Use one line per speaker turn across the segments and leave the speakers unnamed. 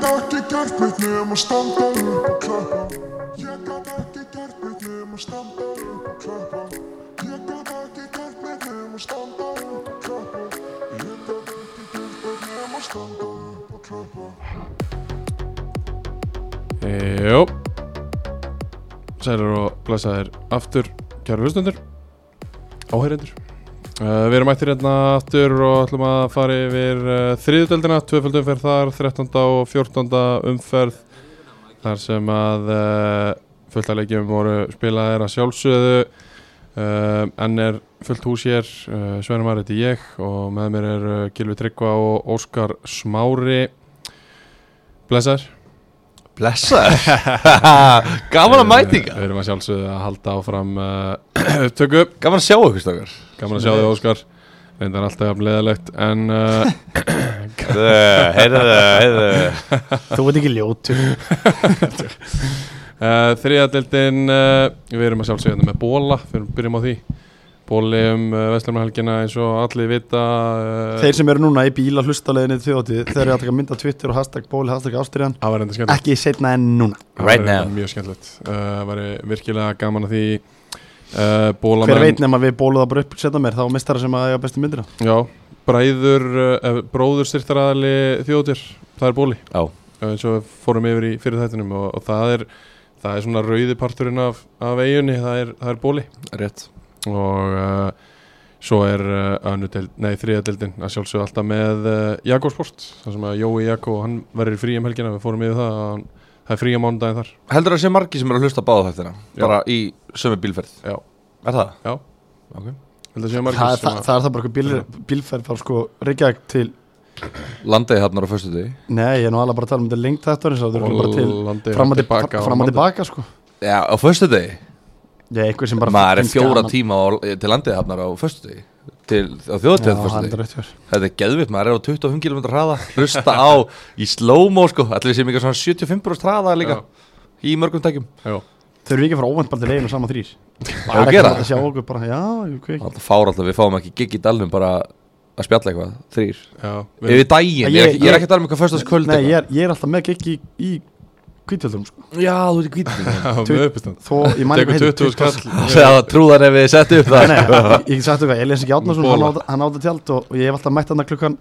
gert mitt nema standa upp og klappa Ég gat ekki gert mitt nema standa upp og klappa Ég gat ekki gert mitt nema standa upp og klappa Ég gat ekki gert mitt nema standa upp og klappa
Jó Sælir og blessaðir aftur kæru hlustundur Áheyrendur uh, Við erum mættir hérna aftur og ætlum að fara yfir uh, þriðutöldina Tvöföld umferð þar, 13. og 14. umferð Þar sem að uh, fullt að leikjum voru spilaðir að sjálfsögðu uh, En er fullt hús hér, uh, Sveinum Ari heiti ég Og með mér er uh, Gilvi Tryggva og Óskar Smári Blessaðir
Blessaður Gaman að mætinga
Við erum að sjálfsögðu að halda áfram uh, upptöku
Gaman að sjá okkur stakar
Gaman að sjá þig Óskar Reyndar alltaf jafn leðalegt En uh,
Heyrðu, heyrðu
Þú veit ekki ljótur
uh, þriðadeldin uh, Við erum að sjálfsögðu hérna með bóla Við erum byrjum á því Bóli um uh, Vestlumarhelgina eins og allir vita uh,
Þeir sem eru núna í bíla hlustaleginu þjótið Þeir eru að taka mynda Twitter og hashtag ból, hashtag ástriðan
Það var enda skemmtilegt
Ekki setna en núna
Það
Right
væri
now.
Mjög skemmtilegt Það uh, var virkilega gaman að því uh, Bólamenn
Hver veit nema við bóluða bara upp setna mér Þá mistar það sem að eiga bestu myndina
Já, bræður, uh, bróður styrtaraðali þjóðir Það er bóli
Já,
eins og við fórum yfir í fyrir þættinum og, og það er það er svona rauði parturinn af, af eigunni, það er, það er bóli
rétt
og uh, svo er uh, deild, nei, þriðadeldin að sjálfsögðu alltaf með uh, Jakobsport, þar sem að Jói Jakó hann verður frí um helgina, við fórum yfir það að hann, það er frí um mándaginn þar
Heldur það að sé margi sem eru að hlusta á báða þættina
Já.
Bara í sömu bílferð
já,
Er það?
já,
Ok
held að séu margir
það, er-
sem
það, það er það bara eitthvað bíl, bílferð Fara sko Reykjavík til
Landaði hafnar á föstu degi
Nei, ég er nú alveg bara að tala um þetta lengt þetta Þú
að
eru bara til
landi
fram og tilbaka,
á
fram og
mánudag.
tilbaka sko.
Já, á föstu degi
Ég er einhver sem bara
Maður er
finnst
fjóra
gaman.
tíma á, til landið hafnar á föstu degi Til á
Já,
þjóðatíð á
það
föstu
er
degi
rétt hjá þér.
Þetta er geðvitt, maður er á 25 km hraða Hlusta á í slow-mo sko Allir við séum eitthvað svona 75% hraða líka
Já.
Í mörgum tækjum
Já,
Þau eru ekki að fara óvænt bara til leginu saman þrýr
Á að gera
Það
það
sjá okkur bara, já, ég veit ekki
Það fár alltaf, við fáum ekki gig í dalnum bara að spjalla eitthvað, þrýr
já, við,
Yfir daginn, ég, er ekki- ég er ekki að tala um eitthvað föstaskvöld
Nei, ég er, ég er alltaf með gekk í, í kvítjöldum sko.
Já, þú ert í kvítum
við uppistand
Þó, ég man
tekur
ekki
20 skall
Það trúðan ef við settum upp
Nei,
það
nei, ég- ég get sagt eitthvað, Elias ekki Átnarsson, hann
Bola.
átti- hann átti tjald og, og ég hef alltaf mætt hann klukkan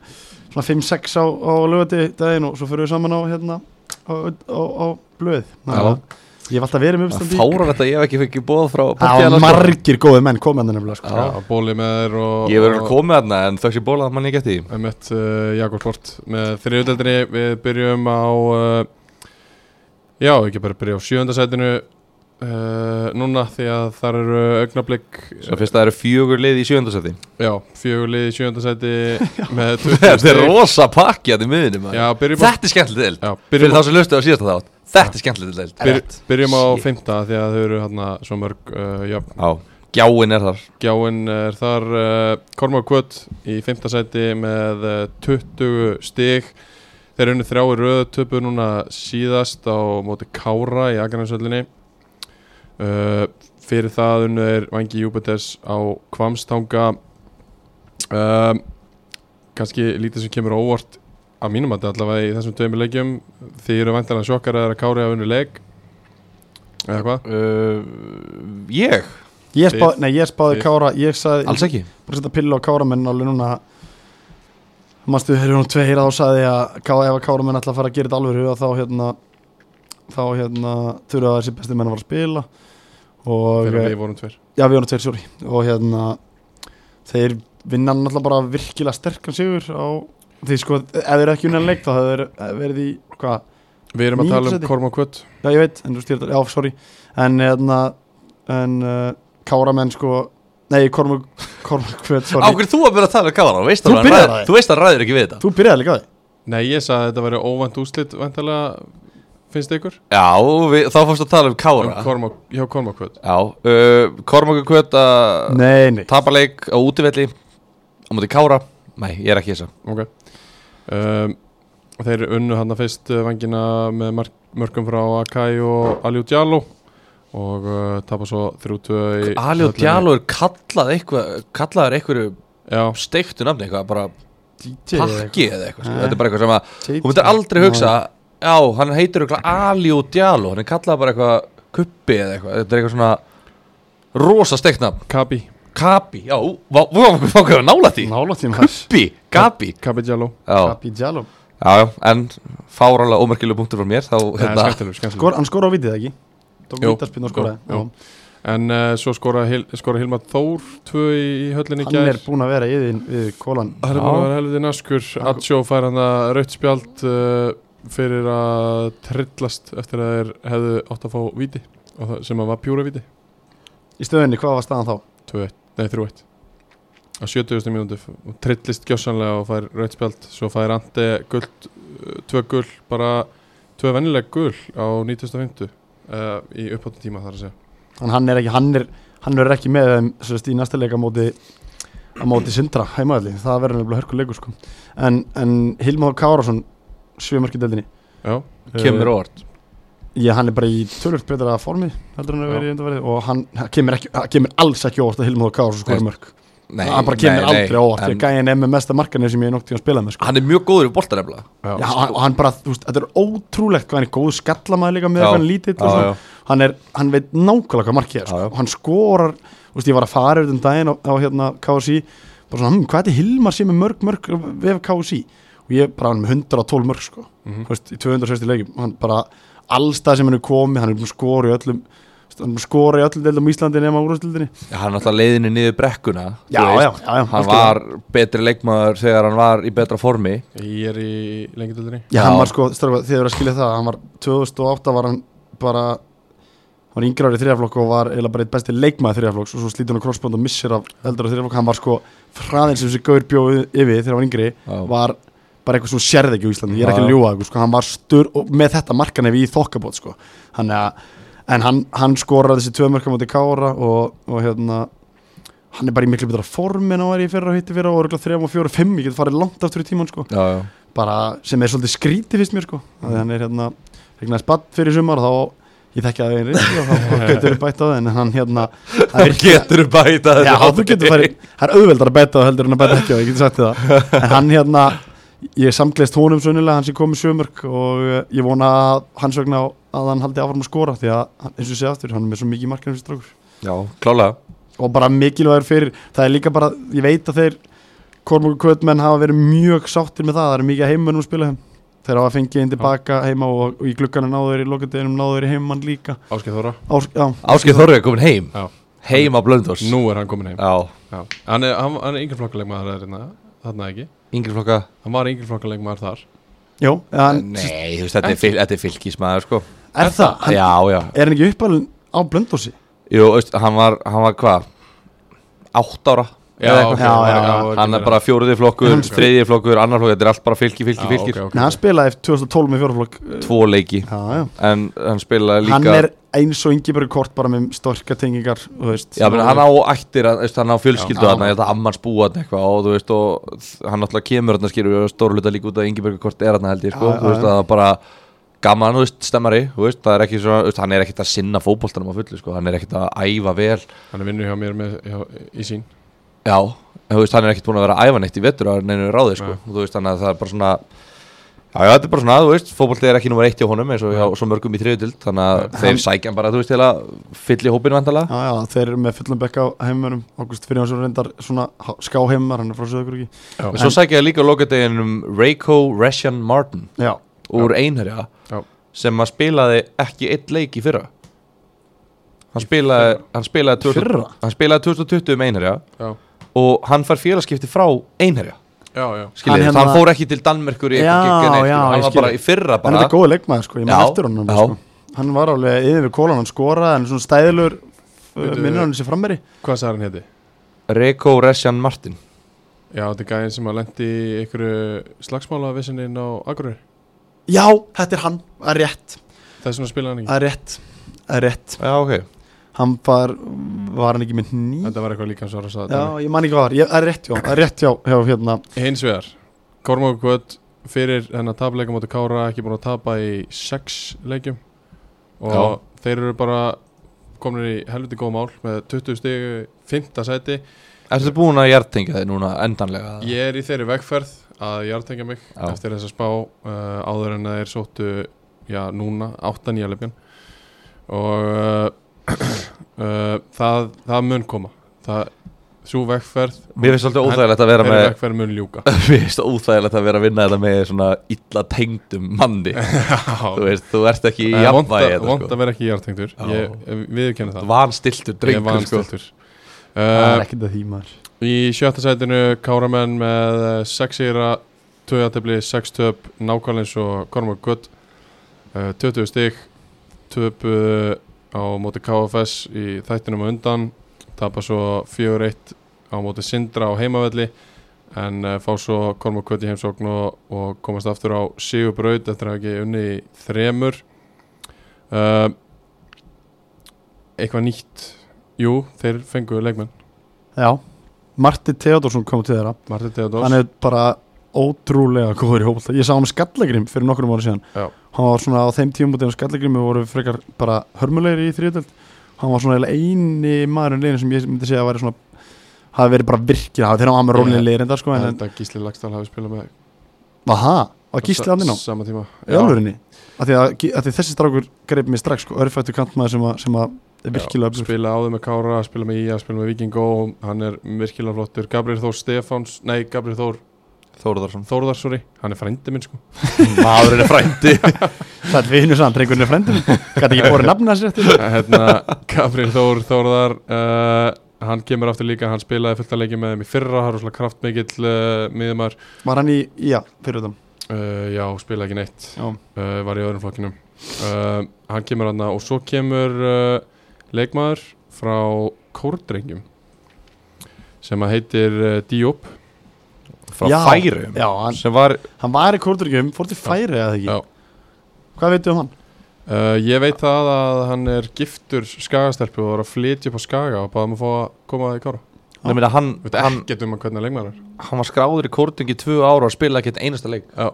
svona 5-6 á, á lögati daginn og svo fyrir við saman á hérna á, á, á blöð
Já.
Ég hef alltaf verið með
Það
uppstandi í-
fárar þetta, ég hef ekki fengið bóð frá
Það
partíðarnar,
var
sko.
margir góði menn komið hann nefnilega sko.
Já.
Bóli með þér og
Ég verður
og-
að koma þarna en þöks ég bóla að mann ekki eftir því
Það er mött uh, Jakob Sport með þriðutöldinni, við byrjum á, uh, já ekki bara byrja á sjöndasætinu uh, núna því að þar eru augnablík,
Svo fyrst það eru fjögur lið í sjöndasæti
já, fjögulið í sjöndasæti með 20
Þetta er rosa pakki að þið miðinum
Já, byrjum á,
Þetta er skemmtileg deild
já,
Fyrir
byrjum
þá
á,
sem lustu á síðasta þátt Þetta er skemmtileg deild
byr,
Rétt.
byrjum á
Shit.
fymta því að þau eru hérna svo mörg, uh, já,
Já, gjáin er þar
gjáinn er þar uh, Kormák Kvöt í fymta sæti með uh, 20 stig þeir eru þrjá í röðu töpu núna síðast á móti Kára í Akarnasöllinni uh, fyrir það unnu er Vangi Júpiters á Kvamstanga um, kannski lítið sem kemur á óvart að mínum að þetta allavega í þessum tveimur leikjum þið eru vantanlega sjokkar að Kári hafa unnu leik eða hvað?
uh, Ég?
Ég spáði, nei, ég spáði
Þið-
Kára, ég sagði
Alls ekki
bara setja pillu á káramenn alveg núna mannstu, þeir eru nú tveir að þá sagði að ká, ef að káramenn ætla að fara að gera þetta alveg að þá hérna þá hérna þurfa þessi besti menn að fara að spila og
þegar
við...
við vorum tveir
já við erum tveir sjóri og hérna þeir vinna náttúrulega bara virkilega sterkan sigur á því sko ef þeir eru ekki unna leik þá hefur þeir verið í hvað
við erum að
Níunda
tala
sæti.
um Kormák Kvöt
Já, ég veit, en þú styrir þetta, já, sorry En, hérna, en uh, Káramenn, sko Nei, Kormur, Kormur, hvað, sorry
Ákveð þú að byrja að tala um kára veist
Þú
að hann
byrjar
ræður-
að-
Þú veist að hann ræður ekki við þetta
Þú byrjaði líka á því
Nei, ég sagði að þetta væri óvænt úslit vantilega, finnst ykkur?
Já, við, þá fórst að tala um
Um
Kára
Kormák, hjá Kormákvöld
Já, uh, Kormakur Kvöt að
Nei, nei
tapa leik á útivelli á móti Kára Nei, ég er ekki þessa
okay. um, Þeir unnu hann fyrst uh, vangina með mark, mörgum frá Akai og Aliu Djaló og uh, tapa svo 3-2 í hérna,
Ali og
höllinni.
Djalo er kallað eitthvað kallaður eitthvað
Já,
steiktu nafni eitthvað bara
DJ
pakki eða eitthvað sko.
Nei.
Þetta er bara eitthvað sem að
Þú
Hún myndir aldrei hugsa Já, hann heitir eitthvað Ali og Diallo Hann er kallað bara eitthvað Kuppi eða eitthvað Þetta er eitthvað svona Rosa steikna
Kabi
Kabi, já, ú, vá, vá, vá, vá, hvað nála því
Nálátt í maður
Kuppi, Gabi
Kabi Jallo
Já,
Kapi Djaló
já, já, en fárálega ómerkilega punktur frá mér Þá, hérna,
Skemmtileg, skemmtileg
Skor, hann skora á vitið ekki Tók
Jú.
vítarspinn og skoraði
Jú, jú.
Já.
En uh, svo skora, Hil skora Hilmar Þór tvö í, í höllinni í
Hann
gær
er búin að vera yðin við kólan
Það er
Já.
búin að vera helviti naskur Atsjó fær hann að raut spjald uh, fyrir að trillast eftir að þeir hefðu átt að fá víti og það, sem að var pjúra víti
Í stöðunni, hvað var staðan þá?
2-1, nei 3-1 á 70. mínúti f- og trillist gjössanlega og fær raut spjald svo fær Andi guld, tvö gull bara tvö vennileg gull á 1950 uh, í upphóttum tíma þar að segja
Hann, hann er ekki, hann er, hann verður ekki með þeim sérst, í næsta leika á móti á móti sindra heimaðalli, það verður nefnilega hörkuleikur sko. en, en Hilmar Þór Kárásson sjömarkideldinni
Já,
kemur óvart
Já, hann er bara í tölvöld betra formi heldur hann að
Já.
vera í undanverði og hann hann kemur, ekki, hann kemur alls ekki óvart að Hilmar Þór Kárásson skora
Nei,
mörg hann bara kemur aldrei óvart því
en
að gæðin er með mesta markanir sem ég nokt í að spila með sko.
Hann er mjög góður í bolta nefnilega
já,
Já, hann, hann bara, þú veist, þetta er ótrúlegt hvað hann er góð skallamæði líka með
Já.
hvað hann er lítill og
Já,
svona.
já.
hann, er, hann veit nákvæmlega hvað markið er
Já,
sko.
já.
og hann skorar, þú veist, ég var að fara yfir um daginn á, á hérna KSI bara svona, hm, hvað er þetta Hilmar sem er mörg, mörg vef KSI og ég bara hann er með 112 mörg sko,
Mhm.
þú veist, í 260 leikjum hann bara, allstað sem hann er komið hann er búin að skora í öllum þú veist, hann er búin að skora í öllum deildum í Íslandi nema úrvastildinni
Já, Hann er alltaf leiðinni niður brekkuna þú
já, já,
veist.
já, já,
Hann
algjörlega.
var betri leikmaður þegar hann var í betra formi
ég er í lengjadöldinni
Já, hann
Já.
var sko, stráka, þið verður að skilja það hann var 2008 var hann bara hann var yngra ári í þriðaflokk og var eiginlega bara eitt besti leikmaði þriðaflokks og svo slítur hann á crossbond og missir af eldra þriðaflokk hann var sko, hraðin sem þessi gaur bjóð yfir þegar hann var yngri,
Já.
var bara eitthvað sem þú sérði ekki á Íslandi, ég er ekki
Já,
að
já.
ljúa sko, hann var stur og með þetta markan ef í þokkabót sko, hann að en hann, hann skoraði þessi tvö mörka mútið Kára og, og hérna hann er bara í miklu betra form en á er í fyrra og hitti fyrra og örugglega þrem og fjóra og fimm, ég get farið langt aftur í tíman sko
Já, já
bara sem er svolítið skrítið fyrst mér sko þannig að hann er hérna regnaði spatt fyrir sumar og þá ég þekki að það einn reyndi og þá getur við bætt á það en hann hérna það er ekki
Getur þú bæta
Já, þú getur farið, það er auðveldar að bæta á heldur en að bæta ekki á, ég getur sagt þér það en hann hérna, ég samgleist honum sunnilega, hann sem kom í sjömörk og eh, ég vona að hans vegna að hann haldi áfram að skora því að, hann- eins og sé aftur, hann er með svo mikið markið um þessi strákur
Já, klálega
og bara mikilvægur fyrir það er líka bara, ég veit að þeir Kormúk og Kvötmenn hafa verið mjög sáttir með það, það er mikið heimunum að spila þeim þeir hafa fengið inn tilbaka heima og, og í glukkanu náðu þeir í lokadeginum náðu þeir í heimann líka
Áskeið Þóra,
Ás, já,
Áskeið Þorri er komin heim
Já.
Heim á Blöndós
nú er hann komin heim
Já,
Já. Hann er, hann, hann er yngri flokkuleikmaður þarna, þarna ekki
yngri flokka
Hann var yngri flokkuleikmaður þar
já, hann,
Nei, þú veist, þetta er, fyl, þetta er fylgismæður sko
er það hann,
Já, já
er hann ekki uppalinn á blöndósi
Jú, veist, hann var, hann var hvað? Átt ára
Já,
Eða
ok,
eitthvað.
já,
var-
já,
já,
já.
var
Hann er
ekki
bara fjóruði flokkur,
Hann-
þriðji flokkur, annar flokkur Þetta er allt bara fylgi,
Já,
fylgi, fylgir
ok, ok.
Nei, hann spilaði 2012 með fjóraflokk
Tvo leiki
já, já.
En hann spilaði líka
hann er eins og yngi kort bara með storka tengingar þú veist,
Já, menn hann á ættir, hann, veist, hann á fjölskyldu
Já.
hann, ég held að ammans búa hann eitthvað og þú veist, og þ- hann náttúrulega kemur hann að skýra og stóru hluta líka út að Ingebergarkort er hann held ég, sko,
Já, já,
þú veist,
já.
að það er bara gaman, þú veist, stemmari, þú veist, það er ekki svona, þú veist, hann er ekkit að sinna fótboltanum á fullu, sko, hann er ekkit að æfa vel,
Hann er vinnur hjá mér með, hjá, í sín
já, en þú veist, hann er ekkit búin að vera að æfa neitt í vetur að neinu ráði, sko,
Nei.
og þú veist, þannig að það er bara svona, Já, já, þetta er bara svona, þú veist, fótbolti er ekki nummer eitt hjá honum eins og hjá svo mörgum í þriðutild, þannig að þeir sækja hann bara, þú veist, til að fylla í hópinu vandala.
Já, já, þeir eru með fullum bekka á heimunum Ágúst Fyrirjánsson reyndar svona skáheimar, hann er frá Söðugrúki
En svo sækja ég líka á lokadeginum Reiko Reshan Martin
Já,
úr Einherja
Já.
sem að spilaði ekki eitt leik í fyrra hann spilaði, hann spilaði, 20,
fyrra
hann spilaði 2020 um Einherja
Já,
og hann fær félagskipti frá Einherja
já, já
Skiljið,
Hann
hann,
hérna-
hann fór ekki til Danmerkur í
Já,
eitthvað gigg eða neitt, skilurðu.
já, ég
hann var
skil.
bara í fyrra
En
bara
þetta er góð leikmaður sko, ég maður
Já,
eftir honum
já.
sko. Hann var alveg yfir við kólan, hann skoraði en svona stæðilur uh,
Bíddu.
minnur hann sér frammeri
Hvað sagði hann heiti?
Reiko Reshan Martin
Já, þetta er gæðin sem að lendi í einhverju slagsmálavissininn á Akureyri
Já, þetta er hann, það er rétt
Það er svona að spila hann
Það
ekki
er rétt, það er rétt
já ok
Hann var, var hann ekki með ný
Þetta var eitthvað líka hans var að
Já,
sagði
ég man ekki hvað var, ég, það er rétt já Það er rétt já, já hérna
Hins vegar, Kormáku Kvöt fyrir hennar tapleika móti Kára ekki búin að tapa í sex leikjum og þeir eru bara komin í helviti góð mál með 20 stig, 5. sæti
Ertu búin að hjartengja þig núna endanlega?
Ég er í þeirri vegferð að jartengja mig
Já.
eftir þess að spá uh, áður en að þeir sóttu já, núna, áttan í alvegjan og uh, uh, það, það mun koma það, svo vegferð
Mér finnst svolítið óþægilegt að vera
þeirri
með
vegferð mun ljúka
Mér finnst óþægilegt að vera að vinna þetta með svona illa tengdum manni Þú veist, þú ert ekki í
Það er vont
jafnvægi
að-
þetta
vont
sko
að vera ekki jartengdur
Já.
ég viðurkenni það
Vanstiltur
ég
drengur sko Ah.
vanstiltur
það
uh,
er ekkert að því maður
Í sjötta sætinu Káramenn með 6 sýra, 2 aðtefli, 6 töp, nákvæmlega eins og Kormák Gutt, eh, 20 stig, töpu á móti KFS í þættinum á undan, tapa svo 4-1 á móti Sindra á heimavelli en eh, fá svo Kormák Gutt í heimsókn og, og komast aftur á Sigurbraut eftir að hafa ekki unni í þremur. Uh, eitthvað nýtt? Jú, þeir fengu leikmenn.
Já, Marti Theodorsson kom til þeirra
Martin Teodós.
hann er bara ótrúlega góður í hópa ég sá hann skallagrim fyrir nokkrum ára síðan
Já.
hann var svona á þeim tímabútið á skallagrimi voru frekar bara hörmulegri í þriðutöld hann var svona eiginlega eini maðurinn leginn sem ég myndi segja að væri svona hafi verið bara virkir, hafi þeirra var með rólinni
Ég-
leginn þetta sko,
Ég
en
held að Gísli Lagstall hafi spilað með
aha, var gísli hann inn á
Sama tíma
í alvörinni, af því að, af því að þessi strákur greip mér strax sko, örfættu kantmaður sem, að, sem að er virkilega öflugur.
Spila áður með Kára, spila með Ía, spila með Víkingó Hann er virkilega flottur Gabriel Þór Stefáns, nei Gabriel Þór
Þórðarsson
Þórðar, sorry Hann er frændi minn sko
Maðurinn er frændi
það er vinur sann, drengurinn er frendin gæti ekki borið nafna sér til
hérna, Gabriel Þór Þórðar uh, Hann kemur aftur líka, hann spilaði fullt að leikja með þeim í fyrra Hann er svona kraftmikill uh, miðumar
var hann í, já, fyrir þetta
uh, Já, spilaði ekki neitt
Já.
uh, Var í öðrum flokkinum uh, Hann kemur hann og svo kemur uh, leikmaður frá Kórdrengjum sem að heitir uh, Diop
Frá
Já.
færum
já, hann,
Sem var
hann var í Korturgjum, fór til færi eða ekki
Já.
hvað veitum um hann?
Uh, ég veit það að hann er giftur skagastelpu og var að flytja upp á skaga og báðum að fá að koma í kára
Nei, meina, hann,
Við veit
hann,
ekkert um að hvernig leikmaður er
hann var skráður í kórtingi tvö ára og spilaði ekki eitt einasta leik
Já.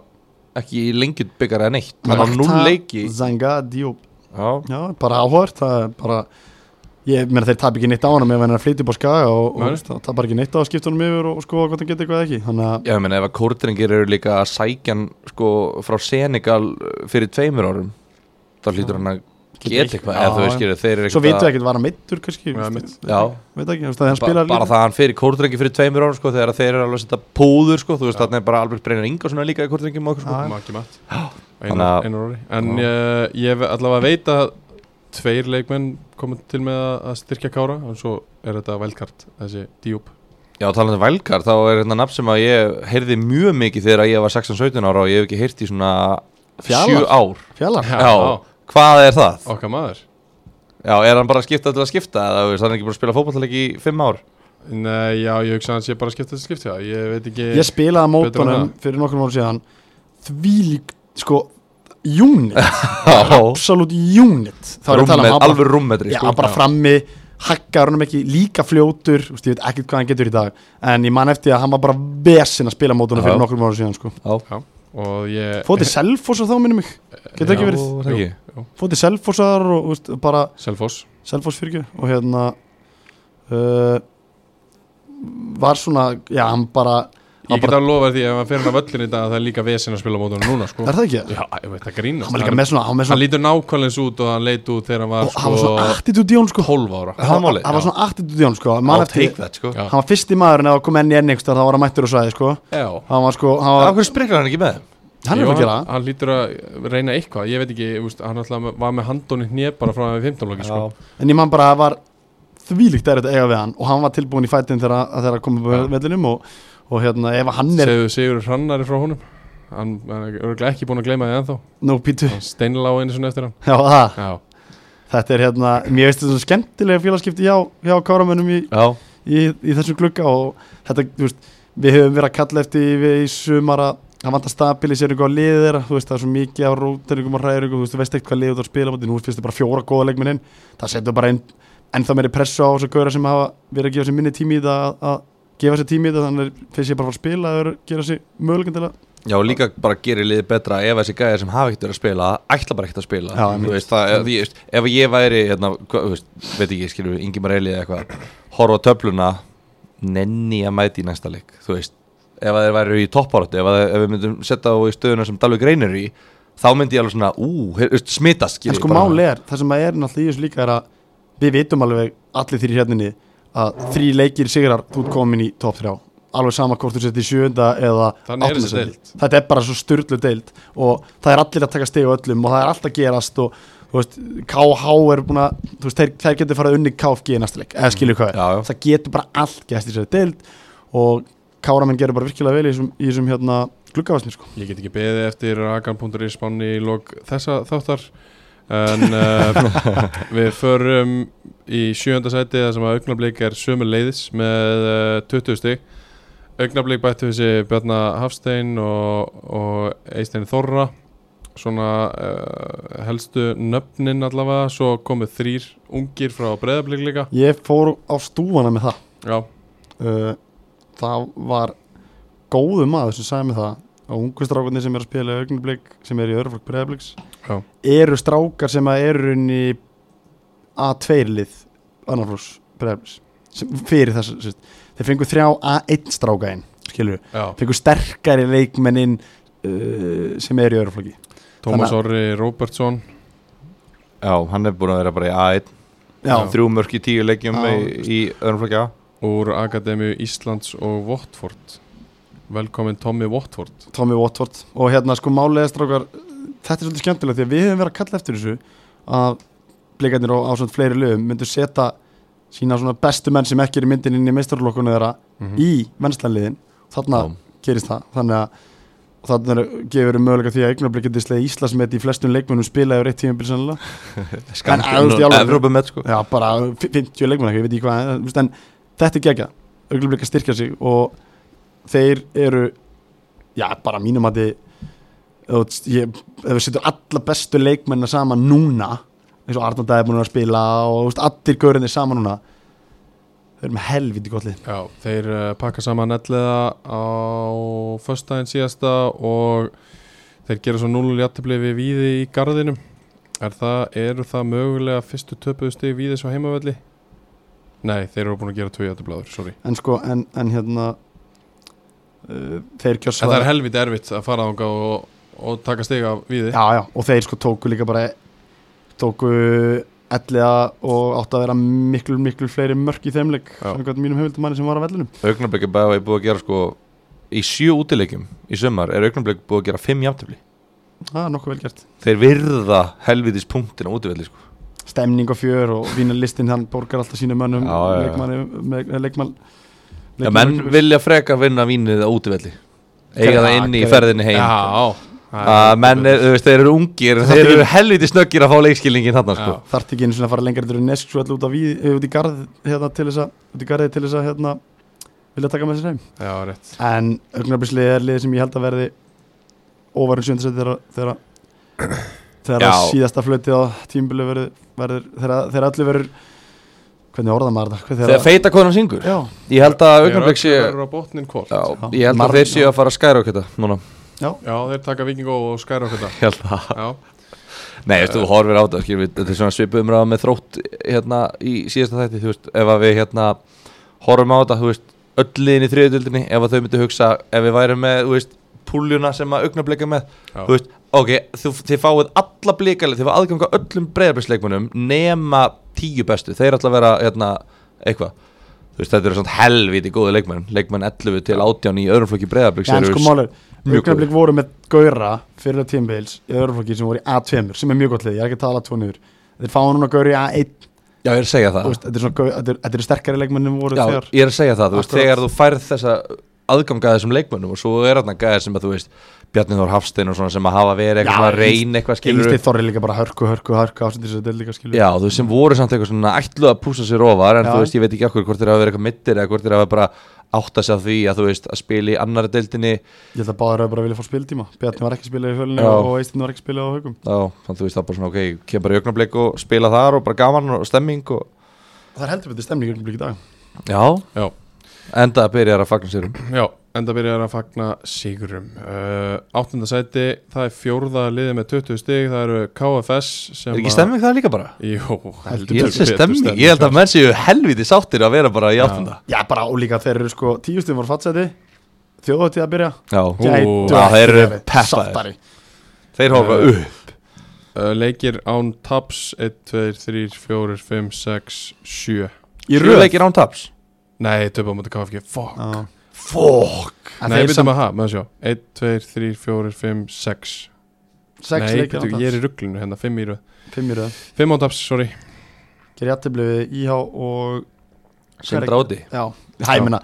Ekki í lengjut byggar eða neitt Hann var núl
Vakta
leiki
Zanga Diop
Já,
Já, bara áhört Það er bara Ég meina þeir tap ekki neitt á honum ef hann er að flytja upp á skaga og,
Nei.
og það tapar ekki neitt á að skipta honum yfir og, og sko hvort hann geti eitthvað eða ekki Þannig að
Já, ég meina ef að kórdrengir eru líka að sækja hann sko frá Senegal fyrir tveimur árum þá hlýtur hann að geta eitthvað eða þú veist skilur þeir eru
Svo vitum við
að-
ekkert var hann meittur kannski
Já,
veistu,
mitt.
Já,
Veit ekki, þú veist, að hann
bara,
spilar
bara það að hann fyrir kórdrengi fyrir tveimur árum sko þegar að þeir eru alveg að setja púður sko þú veist þarna er bara Albert Breinar Inga svona líka í kórdrengjum og okkur sko
Já,
Maki Matt
Þannig að-
Einar, einar orði En
Já.
uh, ég ve- allavega veit að tveir leikmenn komið til með að að styrkja kára og svo er þetta velkart þessi djúb
Já, talað um velkar, þá er hérna nafn sem að ég heyrði mjög mikið þegar ég var 16-17 ára og ég hef ekki heyrt í svona 7
Fjalar.
ár
Fjallar
Já,
Já, hvað er það?
okkar maður
Já, er hann bara að skipta til að skipta eða þú veist, hann er ekki búin að spila fótballleik í 5 ár?
Nei, já, ég hugsa að hans ég bara skipta þessi skipti það Ég veit ekki
Ég spilaði á
Betur en
mótunum fyrir nokkrum árum síðan Þvílík, sko Unit,
Já.
absolutt unit Þá er ég að tala um
Rúmmet-
hann bara-
alveg rúmmetri
Já,
sko.
bara frammi, haggar honum ekki líka fljótur, þú veist, ég veit ekkert hvað hann getur í dag en ég man eftir að hann var bara vesinn að spila mótunum
Já.
fyrir nokkrum ára síðan sko.
já, Og ég
fótið selfos og þá minnum mig getur ekki verið,
er það ekki?
Jú, jú.
fótið selfosar og þú veist, bara
Selfoss
selfos fyrir ekki og hérna uh, var svona, já, hann bara
Ég
hann
get
bara,
að lofa því að ef hann fer hann að völlin í dag að það er líka vesinn að spila á mótunum núna sko.
er það ekki?
Já, ég veit að grínast
hann var líka með svona, hann var með
hann
svona,
lítur nákvæmleins út og hann leit út þegar hann var
og hann var svona attitude í hún sko
12 ára
það er málið,
hann var
já.
svona attitude í hún sko, man
I'll
eftir
take that sko
Já.
hann var fyrsti maðurinn að koma enn í enn einhvers staðar, þá var hann mættur og sæði sko
Já,
hann var sko, hann var,
Af hverju spriklar hann ekki með þeim?
hann er
Jú,
að gera það.
hann, hann lítur að reyna eitthvað, ég veit ekki, úst, hann alltaf var með handóni hnið bara frá hann við 15 loki sko.
En ég man bara að það var þvílíkt erfitt að eiga við hann og hann var tilbúin í fætin þegar að- þegar að koma upp
Já.
á vellinum og, og hérna ef hann er
Segðu Sigur Hrannari frá honum hann, hann er örugglega ekki búin að gleyma því ennþá
no pítu
hann steinlá einu svona eftir hann
Já, það,
Já,
þetta er hérna, mér veist þetta skemmtilega félagskipti hjá, hjá káramönnum í,
Já,
í, í þessum glugga og þetta, þú veist, við höfum verið að kalla eftir við í sumar að hann vantar stabiliseringu á liðið þeirra, þú veist, það er svo mikið af róteringum og hræringum, þú veist, þú veist ekkert hvað liðið þú ert að spila á móti, nú finnst þetta bara fjóra góða leikminn inn, það setur bara einn, ennþá meiri pressu á þessu gauðra sem hafa verið að gefa sér minni tími í þetta að, að gefa sér tími í þetta, þannig er- finnst ég bara að fara að spila að gera sér möguleikin til að,
Já, og líka bara gerir liðið betra ef þessi gæðir sem hafa ekkert verið að spila ætla bara ekkert að spila
Já,
Þú
einmitt.
veist, það, ef, ég, veist, ef ég væri, hérna, hva, þú veist, veit ekki, skilur Ingi Marelli eða eitthvað horfa á töfluna nenni að mæti í næsta leik þú veist, ef að þeir væri í toppáratu ef, að- ef við myndum setja þá í stöðuna sem Dalvik reynir í þá myndi ég alveg svona, ú, he- veist, smitast skilur
En
við,
sko
bara.
máli er, það sem er náttúrulega í þessu líka er að við vitum alveg allir þrjir hérninni að þrjí leikir sigrar þú ert komin í top 3 alveg sama hvort þú settir í sjöunda eða
Þannig er
áttunda
þessi
sæti.
deild.
þetta er bara svo styrlu deild og það er allir að taka stegu öllum og það er allt að gerast og þú veist, KH er búin að þú veist, þeir, þeir getur farið unni KFG í næsta leik eða skilur hvað er,
Já, já.
það getur bara allt gerst í þessari deild og Káramenn gerir bara virkilega vel í þessum, í þessum hérna, gluggafasni sko.
Ég get ekki beðið eftir agan.is spáni í lok þessa þáttar en uh, við förum í sjönda sæti þar sem að augnablík er sömu leiðis með uh, 20 stig augnablík bættu þessi Bjarnar Hafstein og, og Eistein Þorra svona uh, helstu nöfnin allavega svo komu þrýr ungir frá breðablík líka
ég fór á stúfana með það
já,
uh, það var góðu maður sem sagði mig það að ungu strákarnir sem er að spila í augnablík sem er í örflokk breyðablíks
já,
eru strákar sem að eru inn í A2 lið annarflóks breyðablíks fyrir þess sérst. þeir fengu þrjá A1 stráka inn skilur við,
já.
fengu sterkari leikmennin uh, sem er í örflokki
Tómas
Þannig að-
Orri Róbertsson
Já, hann er búin að vera bara í A1
já,
Þrjú mörk í tíu leikjum
Já.
í, í öðrum flokki A
úr Akademíu Íslands og Votford Velkomin Tommy Votford
Tommy Watford og hérna sko málega strákar þetta er svolítið skemmtilegt því að við hefum verið að kalla eftir þessu að blikarnir á, á svona fleiri lögum myndu setja sína svona bestu menn sem ekki er í myndin inn í meistarlokkunni þeirra í mennslanliðin þarna
Já.
gerist það þannig að og þarna er- gefur um möguleika því að eignarblik getið sleið Íslandsmet í flestum leikmönnum spila yfir eitt tímabil sannlega þú veist, í alvöru.
Evrópa með sko
Já, bara fi- 50 leikmenn ekki, ég veit ekki hvað en, þú veist, en þetta er gegja, auðvitað að styrkja sig og þeir eru já, bara mínum að þið ef við setjum alla bestu leikmennina saman núna eins og Arnaldæði er búin að spila og þú veist, allir gaurinni saman núna þeir eru með helviti gott lið
Já, þeir uh, pakka saman elliða á föstudaginn síðasta og þeir gera svo 0 jættibli við Víði í gardinum Er það, eru það mögulega fyrstu töpuðu stig Víðis á heimavelli? Nei, þeir eru búin að gera 2 jættiblaður, sorry
en sko, en, en hérna uh, þeir
En það
kjörsvaða
er helvit erfitt að fara þangað og, og taka stig af Víði
já, já, og þeir sko tóku líka bara tóku elliða og átti að vera miklu, miklu fleiri mörk í þeimleik
Já.
samkvæmt mínum höfildumanni sem var á vellinum
Augnablik er bara búið að gera sko Í sjö útileikjum í sömar er augnablik búið að gera fimm jafntöfli
það er nokkuð vel gert
Þeir virða helvitis punktin á útivelli sko
stemning og fjör og vínarlistin hann borgar alltaf sínu mönnum
Já, já, já.
leikmanni, með, leikmann
Já, menn vilja frekar vinna vínið á útivelli Eiga það inni í ferðinni heim
já
að menn, er, þú veist, þeir eru ungir
Það
þeir
þarf
eru helviti snöggir að fá leikskilningin þarna sko.
Já.
þarf ekki einu sinni að fara lengra til nesk svo alltaf út, á víð- eh, út í garð hérna, til þess að út í garði til þess að hérna, vilja taka með sér heim
Já, rétt
en augnablisliðið er liðið sem ég held að verði óværin sjöndarsæti þegar þegar, þegar
Já.
að síðasta flötið á tímbilu verður verður- þegar þegar allir verður hvernig orða maður þetta Hvað
þegar feita konan syngur
já,
ég held að
Þeir
augnablik sé
eru á botnin hvort
Já,
Já,
ég held
Marvin,
að þeir séu
já.
að fara að skæra okkur þetta núna
þeir taka vikingó og skæra okkur það
Ég held að-
Já,
Nei, veist, þú horfir á þetta skilur við, Þetta er svona svipu umræða með þrótt hérna, í síðasta þætti þú veist, ef að við hérna, horfum á þetta þú veist, öll liðin í þriðutöldinni ef að þau myndu hugsa ef við værum með þú veist, púljuna sem að augnableika með
Já.
þú veist, ok, þú, þið fáið alla blíkalið, þið fáið aðganga öllum breyðarbyrgsleikmunum nema tíu bestu þeir ætla að vera hérna, eitthvað þú veist, þetta eru svona helviti góði leikmenn leikmenn 11 til 18 í öðrum flokki breyðarbyrgs
en sko málur
mjög
augnablik voru með Gaura fyrir að tímbils í öðruflokki sem voru í A2 sem er mjög gott lið, ég er ekki að tala tóniður þeir fáið núna Gaur í A1
Já, ég er að segja það
þú veist, þetta er svona Gaur- þetta er- þetta eru sterkari leikmennum voru
Já,
þegar
ég er að segja það, þú veist,
Akkurat.
þegar þú færð þessa aðganga að þessum leikmönnum og svo er þarna gæðir sem að þú veist Bjarni Þór Hafstein og svona sem að hafa verið
Já,
eitthvað svona
Yngst-
reyn eitthvað skilur
Yngsteinn Þorri líka bara hörku, hörku, hörku ásendis að þetta líka skilur
Já, þú veist, sem voru samt eitthvað svona ætlu að púsa sér ofar en
Já.
þú veist, ég veit ekki okkur hvort þeir hafa verið eitthvað mittir eða hvort þeir hafa bara átt að sjá því að þú veist að spila í annari deildinni
Ég held að báður hafa bara vilja fá spiltíma Bjarni var ekki að spila í hölunni
Já.
og Eistinn var ekki að spila á haugum
þá, þannig þú veist, það er bara svona, ok, kem bara í augnablik og spila þar og bara gaman og stemming og
Það er heldur betur stemning augnablik í dag
Já,
já
enda að byrja að fagna sér um
Já, enda byrjar að fagna sigurum uh, Áttunda sæti, það er fjórða liðið með 20 stig Það eru KFS sem
Er ekki
að-
stemming það líka bara?
Jó, heldur
Ég held
betur
að stemming, ég held að menn séu helviti sáttir að vera bara í áttunda
Já bara og líka þeir eru sko tíu stíðum voru fatsæti þjóðatíð að byrja
Já,
Gætu
já,
ekki
þeir eru
verið
peppaðir.
saltari.
þeir horfa
Já.
upp
Uh, leikir án taps 1, 2, 3, 4, 5, 6, 7
Í
Sjö
röð
leikir án taps
Nei, töpa mútið KFG,
Ah,
fuck
Já.
Fokk
En
Nei,
þeir
byrjum
sem
að hafa, maður sjá 1, 2, 3, 4, 5, 6
sex
Nei,
leikir
byrju, ég er í rugglinu hérna, 5 í röð
Fimm í röð
5 án taps, sorry
Gerir jættiflið við IH og
Sindra áti
Já, hæ, ég meina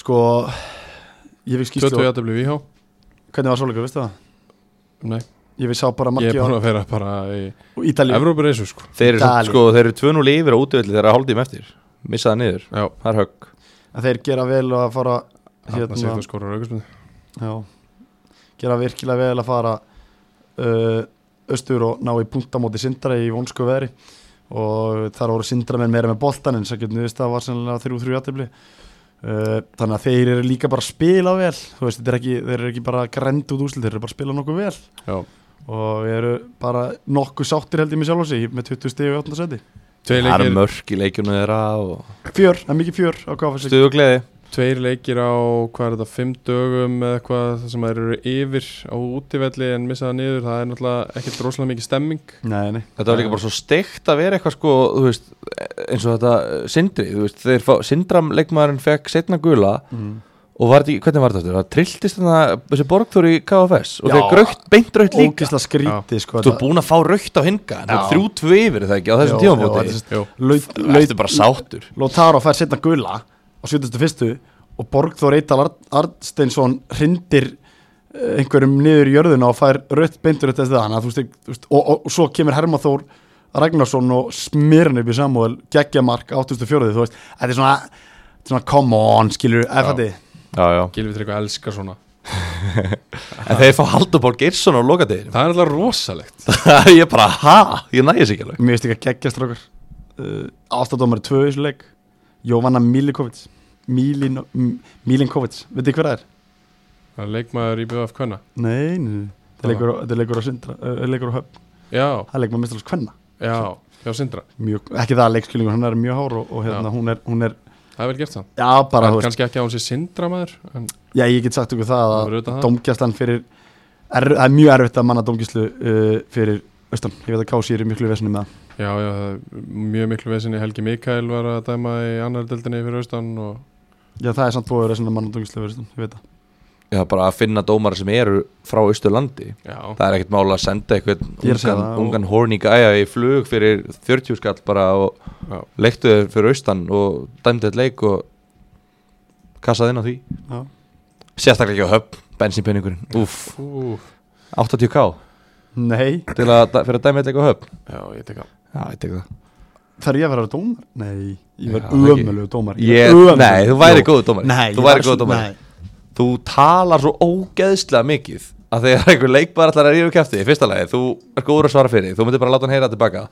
Sko Ég fikk
22
skýslu
jættu blið VH
Hvernig var svoleikur, veistu það?
Nei,
Ég við sá bara
ég
marki
er búin að vera bara í
á Ítalíu
Evrópureisu, sko
Þeir eru
Dali.
samt- sko, þeir eru 2-0 yfir á útivillir þegar að hálfdým eftir Missaða niður,
Já,
það er högg
En þeir gera vel að fara
hérna
Hérna
sér það skorur aukarsmyndi
Já Gera virkilega vel að fara uh, Östur og ná í punktamóti Sindra í vonsku veri Og þar voru Sindramenn meira með boltan En sækjöld niðurstað var sennilega 3-3 jættifli uh, Þannig að þeir eru líka bara að spila vel Þú veist, þeir eru ekki, þeir eru ekki bara grænd út úslit Þeir eru bara að spila nokkuð vel
Já,
og við eru bara nokkuð sáttir held ég með sjálf og sig með 20 stíu og 18 seti
tveir
Það er
leikir,
mörk í leikjunum þeirra og
fjör, það er mikið fjör á KFS
stuð og gleði
tveir leikir á, hvað er þetta, 5 dögum eða eitthvað þar sem þeir eru yfir á útivelli en missaða niður, það er náttúrulega ekkert rosalega mikið stemming
nei, nei,
Þetta var líka bara svo steikt að vera eitthvað sko, þú veist, eins og þetta eh, sindri, þú veist, þeir fá, sindram leikmaðurinn fekk setna gula
mm.
og var þetta ekki, hvernig var þetta aftur? Það trilltist þannig að þessi borgþór í KFS og
Já.
þeir grögt, beint raukt líka.
ógisla skríti sko,
Þú er búin að fá raukt á hinga, en það
Já.
er þrjú tvö yfir er það ekki á þessum tímafóti.
Jú,
Það
laut,
ertu bara sáttur.
Lotaro fær setna gula á 71. og Borgþór Eital Ar Arnsteinsson hrindir eh, einhverjum niður í jörðuna og fær rött beintur eftir það Þannig að þú veist, þú veist, og, og, og svo kemur Hermaþór Ragnarsson og smir hann upp í Samuel geggja mark 84. þú veist þetta er svona, þetta er svona come on skilur, ef þetta er
Já, já.
Gilvi Tryggva elskar svona
En þeir fá Haldur Pál Geirsson á lokadeginum.
Það er alltaf rosalegt
ég bara, ha, ég nægis ekki alveg.
Mér veist ekki að geggjast strákar uh, Ástadómari 2 í þessu leik Jóvanna Milikovic Milin, M- Milinkovic, veit þið hver það er?
Það er leikmaður í BF Kvenna
Nei, nei, nei. Þetta
Hvað?
er leikur á- þetta er leikur á Sindra uh, er leikur á höfn,
Já,
það er leikur með mistalans kvenna
já, hjá Sindra
mjög, ekki það að leikskilningur, hann er mjög hár og, og hérna,
Já.
hún, er, hún er,
Það er vel gert það
já bara þú veist
Kanski ekki að hún sé Sindra maður en
Já, ég get sagt ykkur það
Það
að
verður auðvitað það.
domgjastan fyrir er, það er mjög erfitt að manna domgjastlu uh, fyrir austan, ég veit að Kási er í miklu vesinu með það
Já, já, það er mjög miklu vesinni Helgi Mikael var að dæma í annar deildinni fyrir austan og
Já, það er samt búið að vera svona manna domgjastlu fyrir austan, ég veit það
Já, bara að finna dómara sem eru frá Ísturlandi.
já,
það er ekkert mála að senda eitthvað
Ég er að segja
ungan,
það, og-
ungan horny gæja í flug fyrir 40 skall bara og
já,
leiktu þau fyrir austan og dæmdu þetta leik og kassaði inn á því
Já.
sérstaklega ekki á höfn, bensinpenningurinn uff,
Ú,
80k
Nei,
til að, fyrir að dæmi þetta leik á höfn
já, ég tek að
já, ég tek það
þarf ég að vera dómar? Nei, ég
Já,
verð
það ekki.
ömulegu dómar
ég, nei, þú væri góðu dómar
Nei,
þú væri
ég var
góðu
svo-
dómar
nei.
þú talar svo ógeðslega mikið að þegar einhver leikbar allar að ríða kæfti í fyrsta lagi, þú er góður að svara fyrir þú myndir bara láta hann heyra tilbaka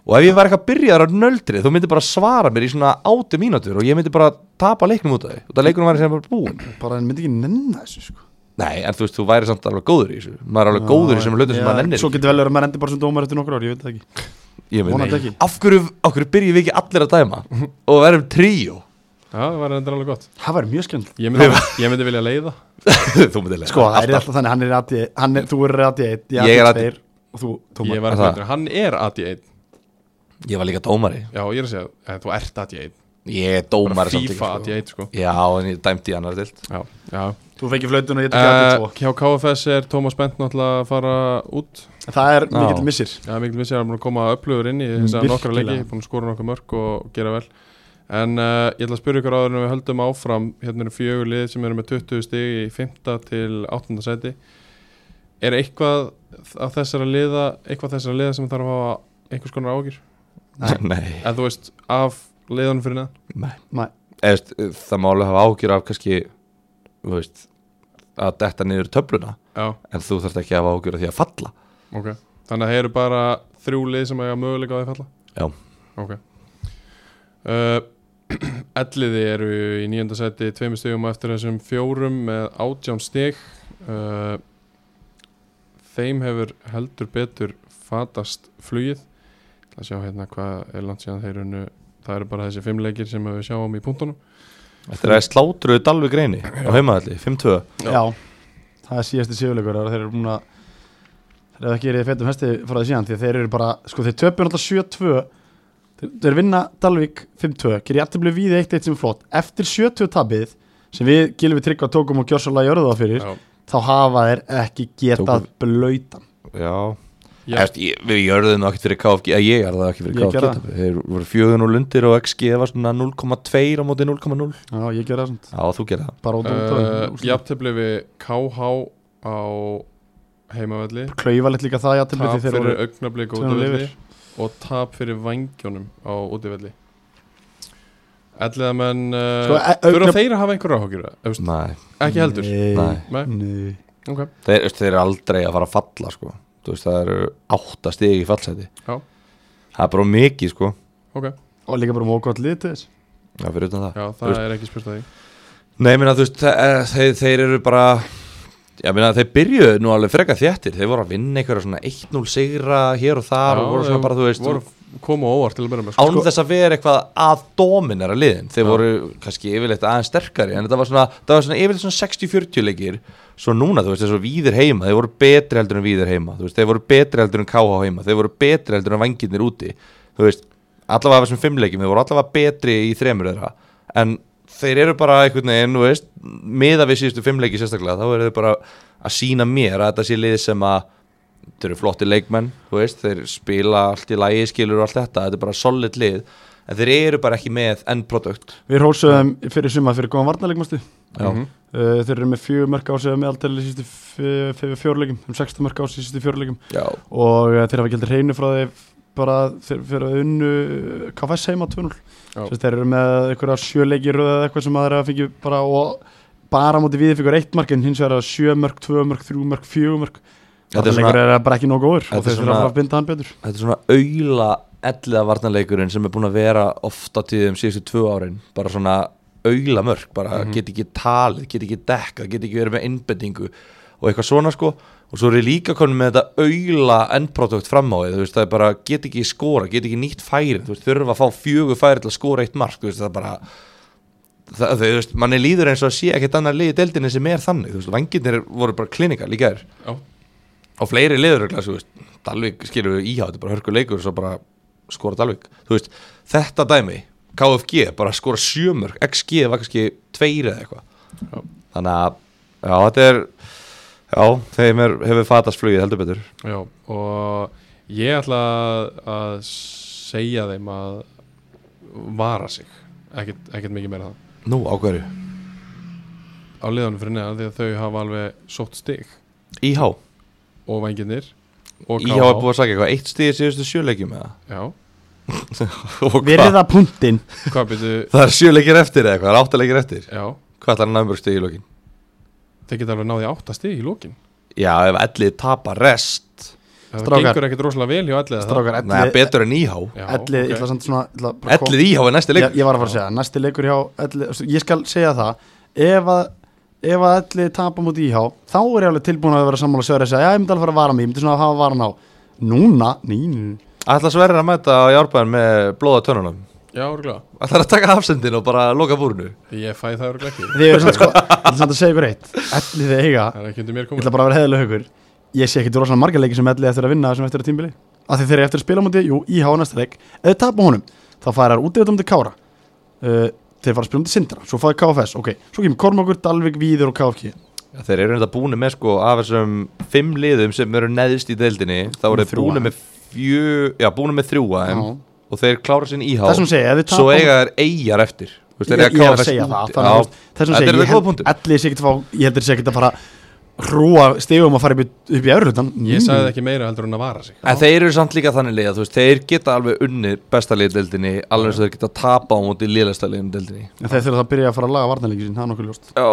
og ef ég var eitthvað byrjaður á nöldri, þú myndir bara svara mér í svona átu mínútur og ég myndi bara tapa leiknum út af því, og það leikunum væri sem bara búin
Bara hann myndi ekki nenna þessu sko
nei, en þú veist, þú væri samt alveg góður í þessu maður er alveg góður í þessum hlutum sem
Já,
maður nennir
Svo
ekki.
getur vel verið að maður endi bara sem dómar eftir nokkur ár, ég veit það ekki
Ég meina,
vonandi ekki.
af hverju, af hverju byrjum við ekki allir að dæma og verðum tríó
Já, það var endur alveg gott
Það væri mjög skemmt
Ég myndi, ég myndi vilja leiða
þú myndir leika
Sko, það er
alltaf.
alltaf þannig, hann er aðið, hann er, þú er aðið eitt,
Ég er AD1.
tveir og þú,
Ég var
Tómar
að
Er það?
hlutur, hann er aði einn
ég var líka dómari,
Já, ég er að segja, eh, þú ert aði einn
ég er
Bara
dómari samt ekki,
FIFA aði
sko.
einn, sko
já, en ég dæmdi í annar dild
Já, já
Þú fekir flautun
Eh,
og ég tekið aðið
uh,
tvo
Hjá KFS er Tómas Bent náttúrulega að fara út
Það er
Já.
mikill missir
Já, mikil missið er hann búin að koma upplöfur inn í þess að nokkra
Virkilega.
leiki, búin að skora nokkra mörg og gera vel En uh, ég ætla að spyrja ykkur áður en við höldum áfram hérna eru fjögur lið sem eru með 20 stig í 5. til 8. sæti Er eitthvað af þessara liða eitthvað þessara liða sem þarf að hafa einhvers konar ágjur?
nei,
En þú veist, af liðanum fyrir neðan?
nei.
Nei.
Eða, veist, það má alveg hafa ágjur af kannski þú veist, að detta niður töfluna
Já,
en þú þarft ekki að hafa ágjur af því að falla
ok Þannig að það eru bara þrjú lið sem eiga möguleika á því að falla?
Já.
Ok uh, Elliði eru í nýjönda seti tveimur stigum á eftir þessum fjórum með átján stig uh, Þeim hefur heldur betur fatast flugið Það sjá hérna hvað er langt síðan þeir unnu Það eru bara þessi fimm leikir sem við sjáum í punktunum
Þetta er að slátruðu Dalvi Greini á heimaðalli, 5-2
Já.
Já, það er síðasti sigurleikur þegar þeir eru búin að þeir eru ekki verið í feitum hesti frá því síðan því að þeir eru bara, sko þeir töpjum alltaf 7-2 þeir, þeir vinna Dalvik 5-2, gerir jætti blið við 1-1 sem er flott eftir 7-2 tabið sem við gilum við tryggva tókum og gjörsala jörðu það fyrir
Já.
þá hafa þeir ekki getað
Tókum-
blöytan
Já,
Já.
Efst, ég, Við gjörðum það ekkert fyrir KFG eða Ég gjörði það ekki
Ég
fyrir
gerði
KFG Þeir voru 4-0 undir og XG var svona 0,2 á móti 0,0
Já, ég gerði það svona,
Já, þú gerði það
bara út
Uh,
og út
Jafntefli við KH á heimavelli
klauvalegt líka það jætti blið
Tap
því þeir
fyrir
voru
augnablik á
tveimur
útivelli Og tap fyrir vangjónum á útivelli Elliða menn
Sko,
uh,
e-
Þurfa
augnab-
þeir að hafa einhverja áhugjur Ekki
Nei,
heldur
Nei,
Nei.
nei.
Ok
þeir, veist, þeir eru aldrei að fara að falla sko. Þú veist, Það eru 8 stegi í fallseti
Já.
Það er bara of mikið sko.
og líka bara mókvæmt lið til þess
Já, fyrir utan það
Já,
Þú
það er ekki spurt að því
Nei, minna, þú veist, þe- eh, þeir, þeir eru bara Já, minna, þeir byrjuðu nú alveg freka þjættir Þeir voru að vinna einhverja svona 1-0 sigra hér og þar
Já,
og voru svona
þeir
bara, þú veist
voru Koma á óvart til að byrja með sko.
Án þess að vera eitthvað að dominera liðin Þeir voru kannski yfirleitt aðeins sterkari En þetta var svona, það var svona yfirleitt svona 60-40 leikir Svo núna, þú veist, þessu víðir heima Þeir voru betri heldur en víðir heima Þú veist, þeir voru betri heldur en KH heima Þeir voru betri heldur en vangirnir úti Þú veist, allavega af þessum fimm leikjum Þeir voru allavega betri í þremur þeirra En þeir eru bara einhvern veginn, þú veist Miða við síðustu fimm leiki sérstaklega Þá eru þeir bara að sína mér að þetta sé lið sem að Þeir eru flotti leikmenn, þú veist Þeir spila allt í lægi, skilur og allt þetta Þetta er bara solid lið En þeir eru bara ekki með end product
Við rósum fyrir suma fyrir góðan varnarleikmastu
Já,
Mhm.
Uh, þeir eru með fjögur mörg á sig meðaltæli sístu fyrir fjórleikum um 16 mörg á sig sístu fjórleikum
já,
og uh, þeir hafa gildið hreinu frá þeir bara þeir fyrir að unnu uh, KFS heima 2-0
Já.
Sérst, þeir eru með einhverja sjöleiki röð eða eitthvað sem að þeir hafa fengið bara og bara á móti við fyrir eitt mark en hins vegar að sjö mörg, tvö mörg, þrjú mörg, fjögur mörg
Þetta er
þetta leikur er bara ekki nóg góður
Þetta
og
er
þeir þurfa
svona-
að fara að binda hann betur
þetta er svona auðla elliða varnarleikurinn sem er búin að vera ofta tíðum síðustu tvö árin bara svona auðla mörg bara
Mhm.
get ekki talið, get ekki dekkað get ekki verið með innbendingu og eitthvað svona sko og svo er ég líka konum með þetta auðla endprodukt fram á því, þú veist það er bara get ekki skora, get ekki nýtt færi þú veist þurfa að fá fjögur færi til að skora eitt mark þú veist það er bara það, þú veist, manni líður eins og að sé ekkert annað liði deildinni sem er þannig, þú veist, vanginir voru bara klinikar líka er
Já.
og fleiri liður örugglega, þú veist, Dalvik skilur við íhá, þetta er bara hörku leikur svo bara skora Dalvik, þú veist þetta dæmi, KFG, bara skora sjömörk, XG var kannski tveir eða
Já.
eitthvað þannig að já, þetta er já, þeim er, hefur fatast flugið heldur betur
Já, og ég ætla að- að segja þeim að vara sig ekkert, ekkert mikið meira en það
nú, á hverju?
á liðanum fyrir neðan því að þau hafa alveg sótt stig
IH,
og venginir og
IH er búið að sagja eitthvað eitt stíð síðustu sjöleikjum eða
Já,
og hvað?
Verða punktinn
hvað byrju
það er sjöleikir eftir eða eitthvað, áttaleikir eftir
Já,
hvað ætlar hann að mörg stíð í lókin?
þeir geta alveg náði átta stig í lókin
já, ef ellið tapar rest
Það
Strákar.
gengur ekkert rosalega vel hjá allir
strákar
Nei,
ellið
betur en IH
ellið, ég ætla samt svona ég ætla bara að koma-
Ellið íhá er næsti
ég,
leikur
ég var að fara að segja, það. næsti leikur hjá elli, ég skal segja það ef að, ef að elli tapa múti íhá þá er ég alveg tilbúin að vera sammála sverið að segja, já ég myndi alveg fara að vara mig, ég myndi svona að hafa varan á núna, nýn
Ætla Sverrir að mæta á Járbæðin með blóða törnunum
Já, örgulega,
Ætlar að taka afsendin og bara loka búrinu
ég fæ það örgulega ekki
þið eru svona sko, ég ætla samt að segja ykkur eitt elli þið eiga,
Það er ekki undir mér
ég
komið
ætla bara að vera heðilega haukur ég sé ekki rosalega marga leiki sem elli eftir að vinna sem eftir að tímbili, af því þeir eru eftir að spila múti jú, íhá næsta leik, eða tapa honum þá færar útivöldum til Kára uh, þeir fara að spila um til Sindra, svo fæði KFS ok, svo kemur Kormakur, Dalvik, Víður og KFG
Já, Þeir eru þetta búinu með sko af þessum fimm liðum sem eru neðist í deildinni Þá eru þeir
Þrjú
búinu
AM.
með fjö Já, búinu með þrjú aðeim
Já.
Og þeir klára sinn íhá
Þessum segja, ef við
Svo
tapum-
eiga þeir eigjar eftir Þú veist,
Ég,
þeir eiga
ég er að
KFS
segja
úti. Já.
það þannig, að Þessum
Þetta
segja,
eru
ég
þetta góða
held
punktur
allir sé ekki að fá Ég held þessi ekki að fara Rúa stegum að fara upp, í- upp í öðrutan
Ég sagði ekki meira heldur en að vara sig
En þeir eru samt líka þannig liða, þú veist, þeir geta alveg unni besta liðið deildinni, alveg eins og þeir geta tapa á móti liðasta liðin deildinni.
En Mm. þeir þurfa að byrja að fara að laga varnarleikin sín Það er nokkuð ljóst
Já,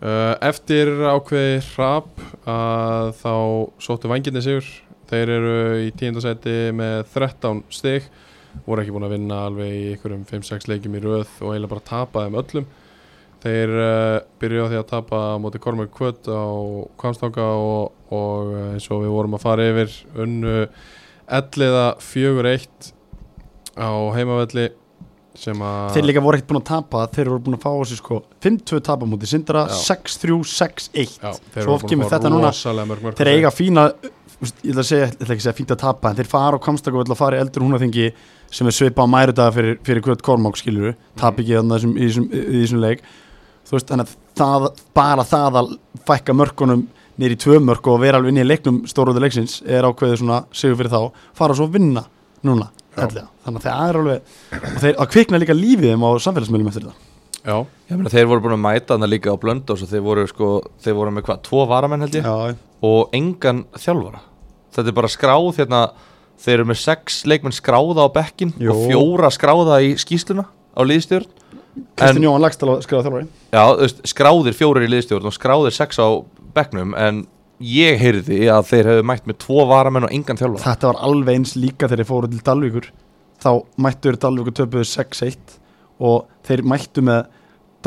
Uh, eftir ákveði hrap að þá sóttu vanginni sigur þeir eru í tíundasæti með 13 stig voru ekki búin að vinna alveg í einhverjum 5-6 leikjum í röð og eiginlega bara tapa þeim öllum þeir uh, byrjuðu á því að tapa á móti Kormur Kvöt á Kvamstanga og, og uh, eins og við vorum að fara yfir unnu elliða 4-1 á heimavelli sem að
Þeir líka voru ekkert búin að tapa Þeir voru búin að fá þessi sko 5-2 tapamóti Sindra
Já.
6-3, 6-1
já, þeir
Svo
eru búin að
kemur
fá
þetta núna
rosalega mörg mörg
Þeir eiga fína uh, úst, Ég ætla að segja, ég ætla ekki að segja fínt að tapa En þeir fara á kamstak og ætla að fara í eldur húnaþingi Sem er svipa á mærudaga fyrir, fyrir Kvöld Kormák skilur Tap ekki þarna þessum, í, þessum, í þessum leik Þú veist, þannig að það, bara það að fækka mörkunum niður í tvö mörk og vera alveg inn í leiknum stóruðu leiksins er ákveðið svona sigur fyrir þá fara svo að vinna núna
Já.
ellega. þannig að það er alveg og þeir að kvikna líka lífið þeim á samfélagsmiðlum eftir þetta
já,
Ég meina þeir voru búin að mæta hann líka á Blöndós og þeir voru sko, þeir voru með hvað, tvo varamenn held ég
Já,
og engan þjálfara Þetta er bara skráð hérna, þeir eru með sex leikmenn skráða á bekkin
Jó.
og fjóra skráða í skýsluna á liðstjórn
Kristján Jóhann Lagstall skrifaði þjálfari
Já, þú veist, skráðir fjórir í liðstjórn og skráðir sex á bekknum en ég heyrði að þeir hefðu mætt með tvo varamenn og engan þjálfara
Þetta var alveg eins líka þegar þeir fóru til Dalvíkur þá mættu þeir Dalvíkur töpuðu 6-1 og þeir mættu með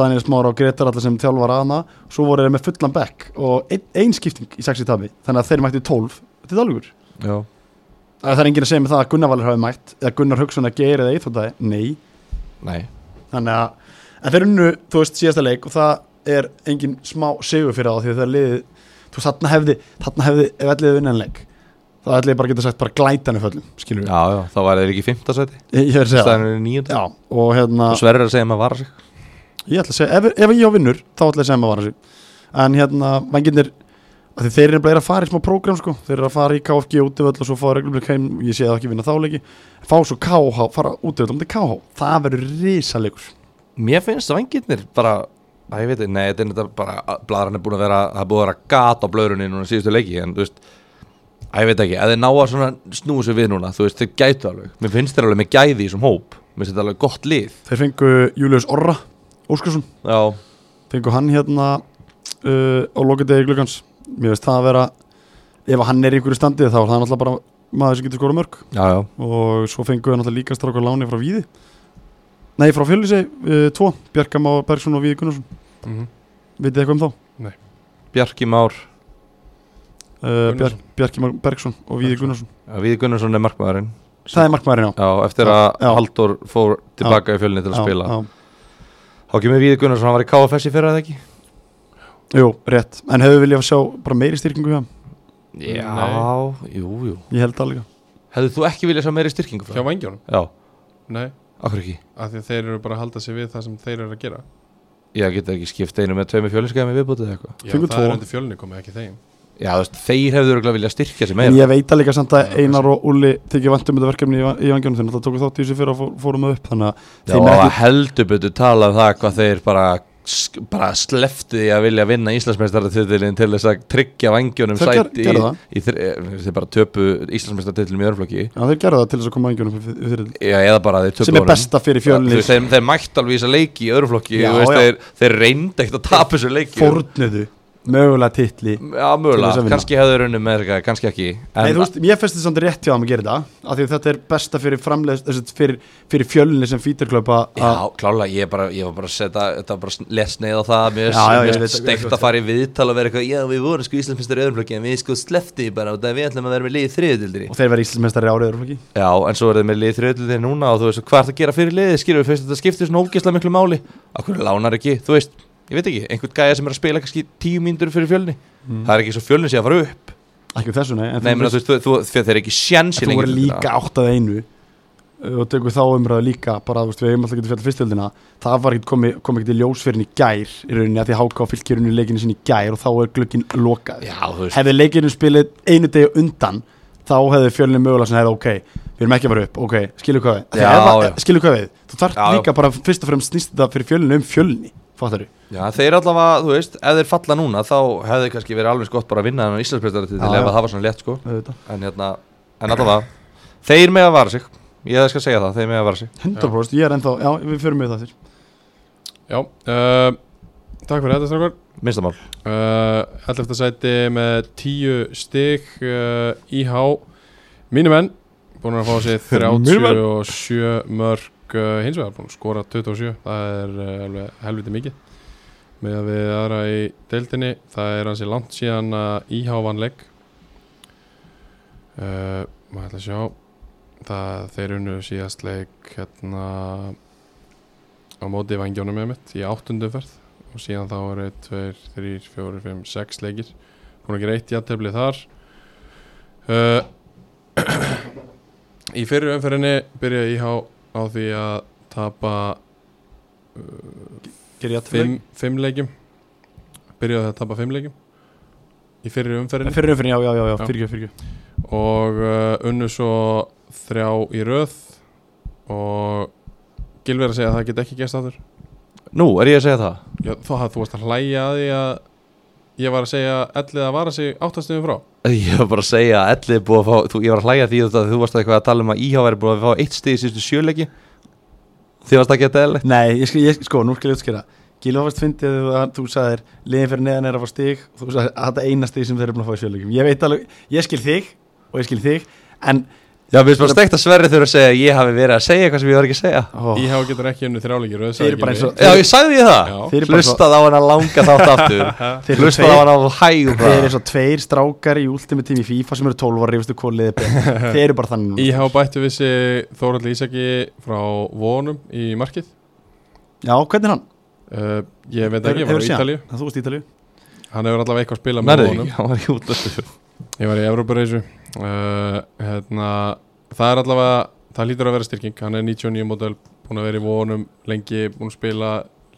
Daniel Smára og Gretar allar sem þjálfar aðna svo voru þeir með fullan bekk og ein, ein skipting í 6 tabi þannig að þeir mættu 12 til Dalvíkur
Já.
Það er enginn að segja með það að Gunnar Valur hafi mætt eða Gunnar Hugson að geir eða eitthvað nei
Nei,
þannig að en þeir unnu, þú veist, síðasta leik og það er engin smá sigur fyrir þá því að það er liðið, þú veist, þarna hefði þarna hefði, ef allir vinna en leik þá ætli ég bara að geta sagt bara glætan í föllum skilur við,
já, já, þá var þeir ekki í fimmtasæti
ég verður að segja það
staðinu er nýjönda
já, og hérna,
og Sverrir er að segja maður vara sig
ég ætla að segja ef, ef ég á vinnur, þá ætla ég að segja maður var þessu en hérna, vangirnir af því þeir eru bara að fara í smá prógram sko þeir eru að fara í KFG útivöll og svo fá reglumleik heim ég sé það ekki vinna þá leiki fá svo KH, fara útivöll um til KH það verður risalegur
Mér finnst vangirnir bara Æ, ég veit, ekki, nei, þetta er þetta bara Blaðran er búin að vera, það er búin að vera gat á blöðrunni núna síðustu leiki, en þú veist Æ, ég veit ekki, að þeir ná að svona snúi sig við núna, þú veist, þeir gætu alveg Mér finnst þeir alveg með gæði í þessum hóp Mér finnst þetta alveg gott lið
þeir fengu Július Orra Óskarsson
Já,
fengu hann hérna uh, á lokadegi glukkans mér veist það að vera ef hann er í einhverju standi þá er það náttúrulega bara maður sem getur skora mörg
já, já,
og svo fengu hann náttúrulega líka strákar láni frá Víði nei frá Fjölísi uh, tvo Bjarkam á Bergson og Víði Gunnarsson
mm
Mhm. vitið þið eitthvað um þá
Bjarki Már
uh, Bjar,
Gunnarsson.
Bjarkam á Bergson og Víði Gunnarsson
Við Gunnarsson er markmaðurinn
það er markmaðurinn á
Já, eftir að
Já, já.
Halldór fór tilbaka í fjölni til að
Já,
spila
já.
Þá kemur Við Gunnarsson, hann var í KFS í fyrra eða ekki?
Jú, rétt, en hefur viljað sjá bara meiri styrkingu hjá hann,
Já, jú, jú
ég held það líka
Hefðu þú ekki viljað sjá meiri styrkingu frá?
hjá vangjónum,
Já,
nei
akkur ekki
af því að þeir eru bara að halda sig við það sem þeir eru að gera
Ég geta ekki skipt einu með tveimur fjölinskæmi viðbútið eða eitthvað
já,
Fengu
það er
tvo.
undir fjölni komið ekki þeim
Já, þú veist, þeir hefðu örgulega viljað styrkja sig
En
meira
ég veit að líka samt að
Já,
Einar og Ulli tekið vantum um þetta verkefni í, va- í vangjónum þeir náttúrulega tóku þátt í þessu fyrir að fór, fórum það upp þannig að
Já,
þeim er
og
ekki,
heldur betur tala um það hvað þeir bara, sk- bara slefti því að vilja vinna Íslandsmeistaratitilin til þess að tryggja vangjunum
Þeir ger-
sæti í,
gerðu það.
í, þri- eh, þeir bara töpu Íslandsmeistaratitilin í örflokki
já, þeir gerðu það til þess að koma vangjónum fyrir, fyrir þetta
Já, eða bara þeir töpu
sem er besta fyrir
Þú
fjölni
veist, þeir, þeir mættu alveg í þessa leiki í örflokki
Já,
veist,
já.
þeir, þeir reyndu ekkert að tapa þessu leiki
fórnuðu mögulega titli
Já,
Til þess að
mögulega,
vinna.
kannski hefðu runnum með þetta, kannski ekki en,
Nei, þú veist, ég festi samt rétt hjá þeim að gera þetta af því að þetta er besta fyrir framleiðs þessi, fyrir, fyrir fjölni sem fítarklöpa
Já, klálega, ég, bara, ég var bara að setja þetta var bara lesneið á það mér
Já, já, ég
er
veit
steikt
það.
að fara í viðtal og vera eitthvað, já við vorum sko Íslandsmyndstur öðrumflokki en við sko slefti því bara og það við ætlum að vera með liðið þriðutildri
og þeir verða íslensmestari árið örflokki
Já, en svo er það með liðið þriðutildri núna og þú veist, hvað er það að gera fyrir liðið, skilur við fyrst þetta skiptir svona ógeðslega miklu máli Akkur lánar ekki, þú veist, ég veit ekki, einhvern gæja sem er að spila kannski tíu mínútur fyrir fjölni
Mm.
Það er ekki svo fjölni sé að fara upp
ekki um þessu, nei, en
Nei, menn, þú veist, þú, þú, þú, þeir eru ekki
en
sjensin
þú voru líka átt að einu uh, og tökum þá umræðu líka bara, þú veist, við hefum alltaf getið fjallið fyrstöldina það var ekkert komið kom ekki til ljós fyrir henni í gær í rauninni að því háka á fylgjörunni leikinu sinni í gær og þá er glögginn lokað
Já, þú veist,
hefði leikinu spilið einu degi undan þá hefði fjölni mögulega sem hefði ok við erum ekki að fara upp, ok, skilu hvað við
Já,
já,
já.
skilu hvað við, þú þarf
Já, já.
líka bara fyrst og fremst snýst þetta fyrir fjölni um fjölni fattar þú,
Já, þeir allavega, þú veist, ef þeir falla núna þá hefði kannski verið alveg eins gott bara að vinna þannig Íslandsbjörnstaratitil
Já,
ef
já.
að það var svona létt sko
auðvitað
en, hérna, en allavega, þeir með að vara sig ég skal segja það, þeir með að vara sig
100% ég er ennþá, já, við förum við það þér
já, uh, takk fyrir þetta strákar
minnstamál
uh, 11. sæti með 10 stig uh, IH mínumenn búin að fá sér
Mínir menn.
37 mörg uh, hins vegar búin að skora 27 það er uh, alveg helviti mikið með að við aðra í deildinni það er hansi langt síðan að IH vann leik Eh, uh, maður ætla að sjá það þeir unnu síðast leik hérna á móti vangjónum með mitt í áttundu ferð og síðan þá eru 2, 3, 4, 5, 6 leikir hún er ekki reitt jættefli þar uh, í fyrir umferðinni byrjaði IH á því að tapa
Gerir ég að
5 uh, leikjum byrjaði á því að tapa 5 leikjum í fyrir umferðinni
Fyrir umfyrir, já, já, já, já,
Já.
fyrir ekki, fyrir ekki
og uh, unnu svo þrjá í röð og Gilver að segja að það get ekki gerst aftur
Nú, er ég að segja það?
Já, þá hafði þú varst að hlæja að því að ég var að segja ellið að vara sig áttastöðum frá
Ég var bara að segja að Elli er búið að fá, þú, ég var að hlæja því að þú varst eitthvað að tala um að IH væri búið að fá eitt stig í síðustu sjöleiki Þið varst að um geta eðlilegt
Nei, ég, skil- ég, sko, nú skal ég útskýra Gilva fyrst fyndið að þú sagðir liðin fyrir neðan er að fá stig og þú sagðir að þetta er eina stig sem þeir eru búin að fá í sjöleikum Ég veit alveg, ég skil þig og ég skil þig en
Já, mér finnst bara steikt að Sverri þurfa að segja að ég hafi verið að segja eitthvað sem ég var ekki að segja
ó,
Íhá getur ekki unnu þrjáleiki röð
Þeir eru bara eins og-
Já, ég sagði ég það
Já.
Þeir eru bara svo-
Hlustað á hana langa þátt aftur
þeir eru
Hlustað á
tveir-
hana á hægum
Þeir eru svo tveir strákar í últimi tími í FIFA sem eru 12 ára, ég veistu hvað liðið er betra. Þeir eru bara þannig núna.
Íhá bættu vissi Þórald Ísaki frá vonum í markið
Já, hvernig er hann?
uh, Ég veit ekki, ég
Hefurðu
var í
séð hann?
Ítalíu
Já, Þú veist Ítalíu
Hann hefur allavega eitthvað að spila með
Nærðu ekki,
vonum
hann var í útlastu
Ég var í Evrópareysu uh, hérna, Það er allavega Það lítur að vera styrking, hann er 99 model Búin að vera í vonum lengi Búin að spila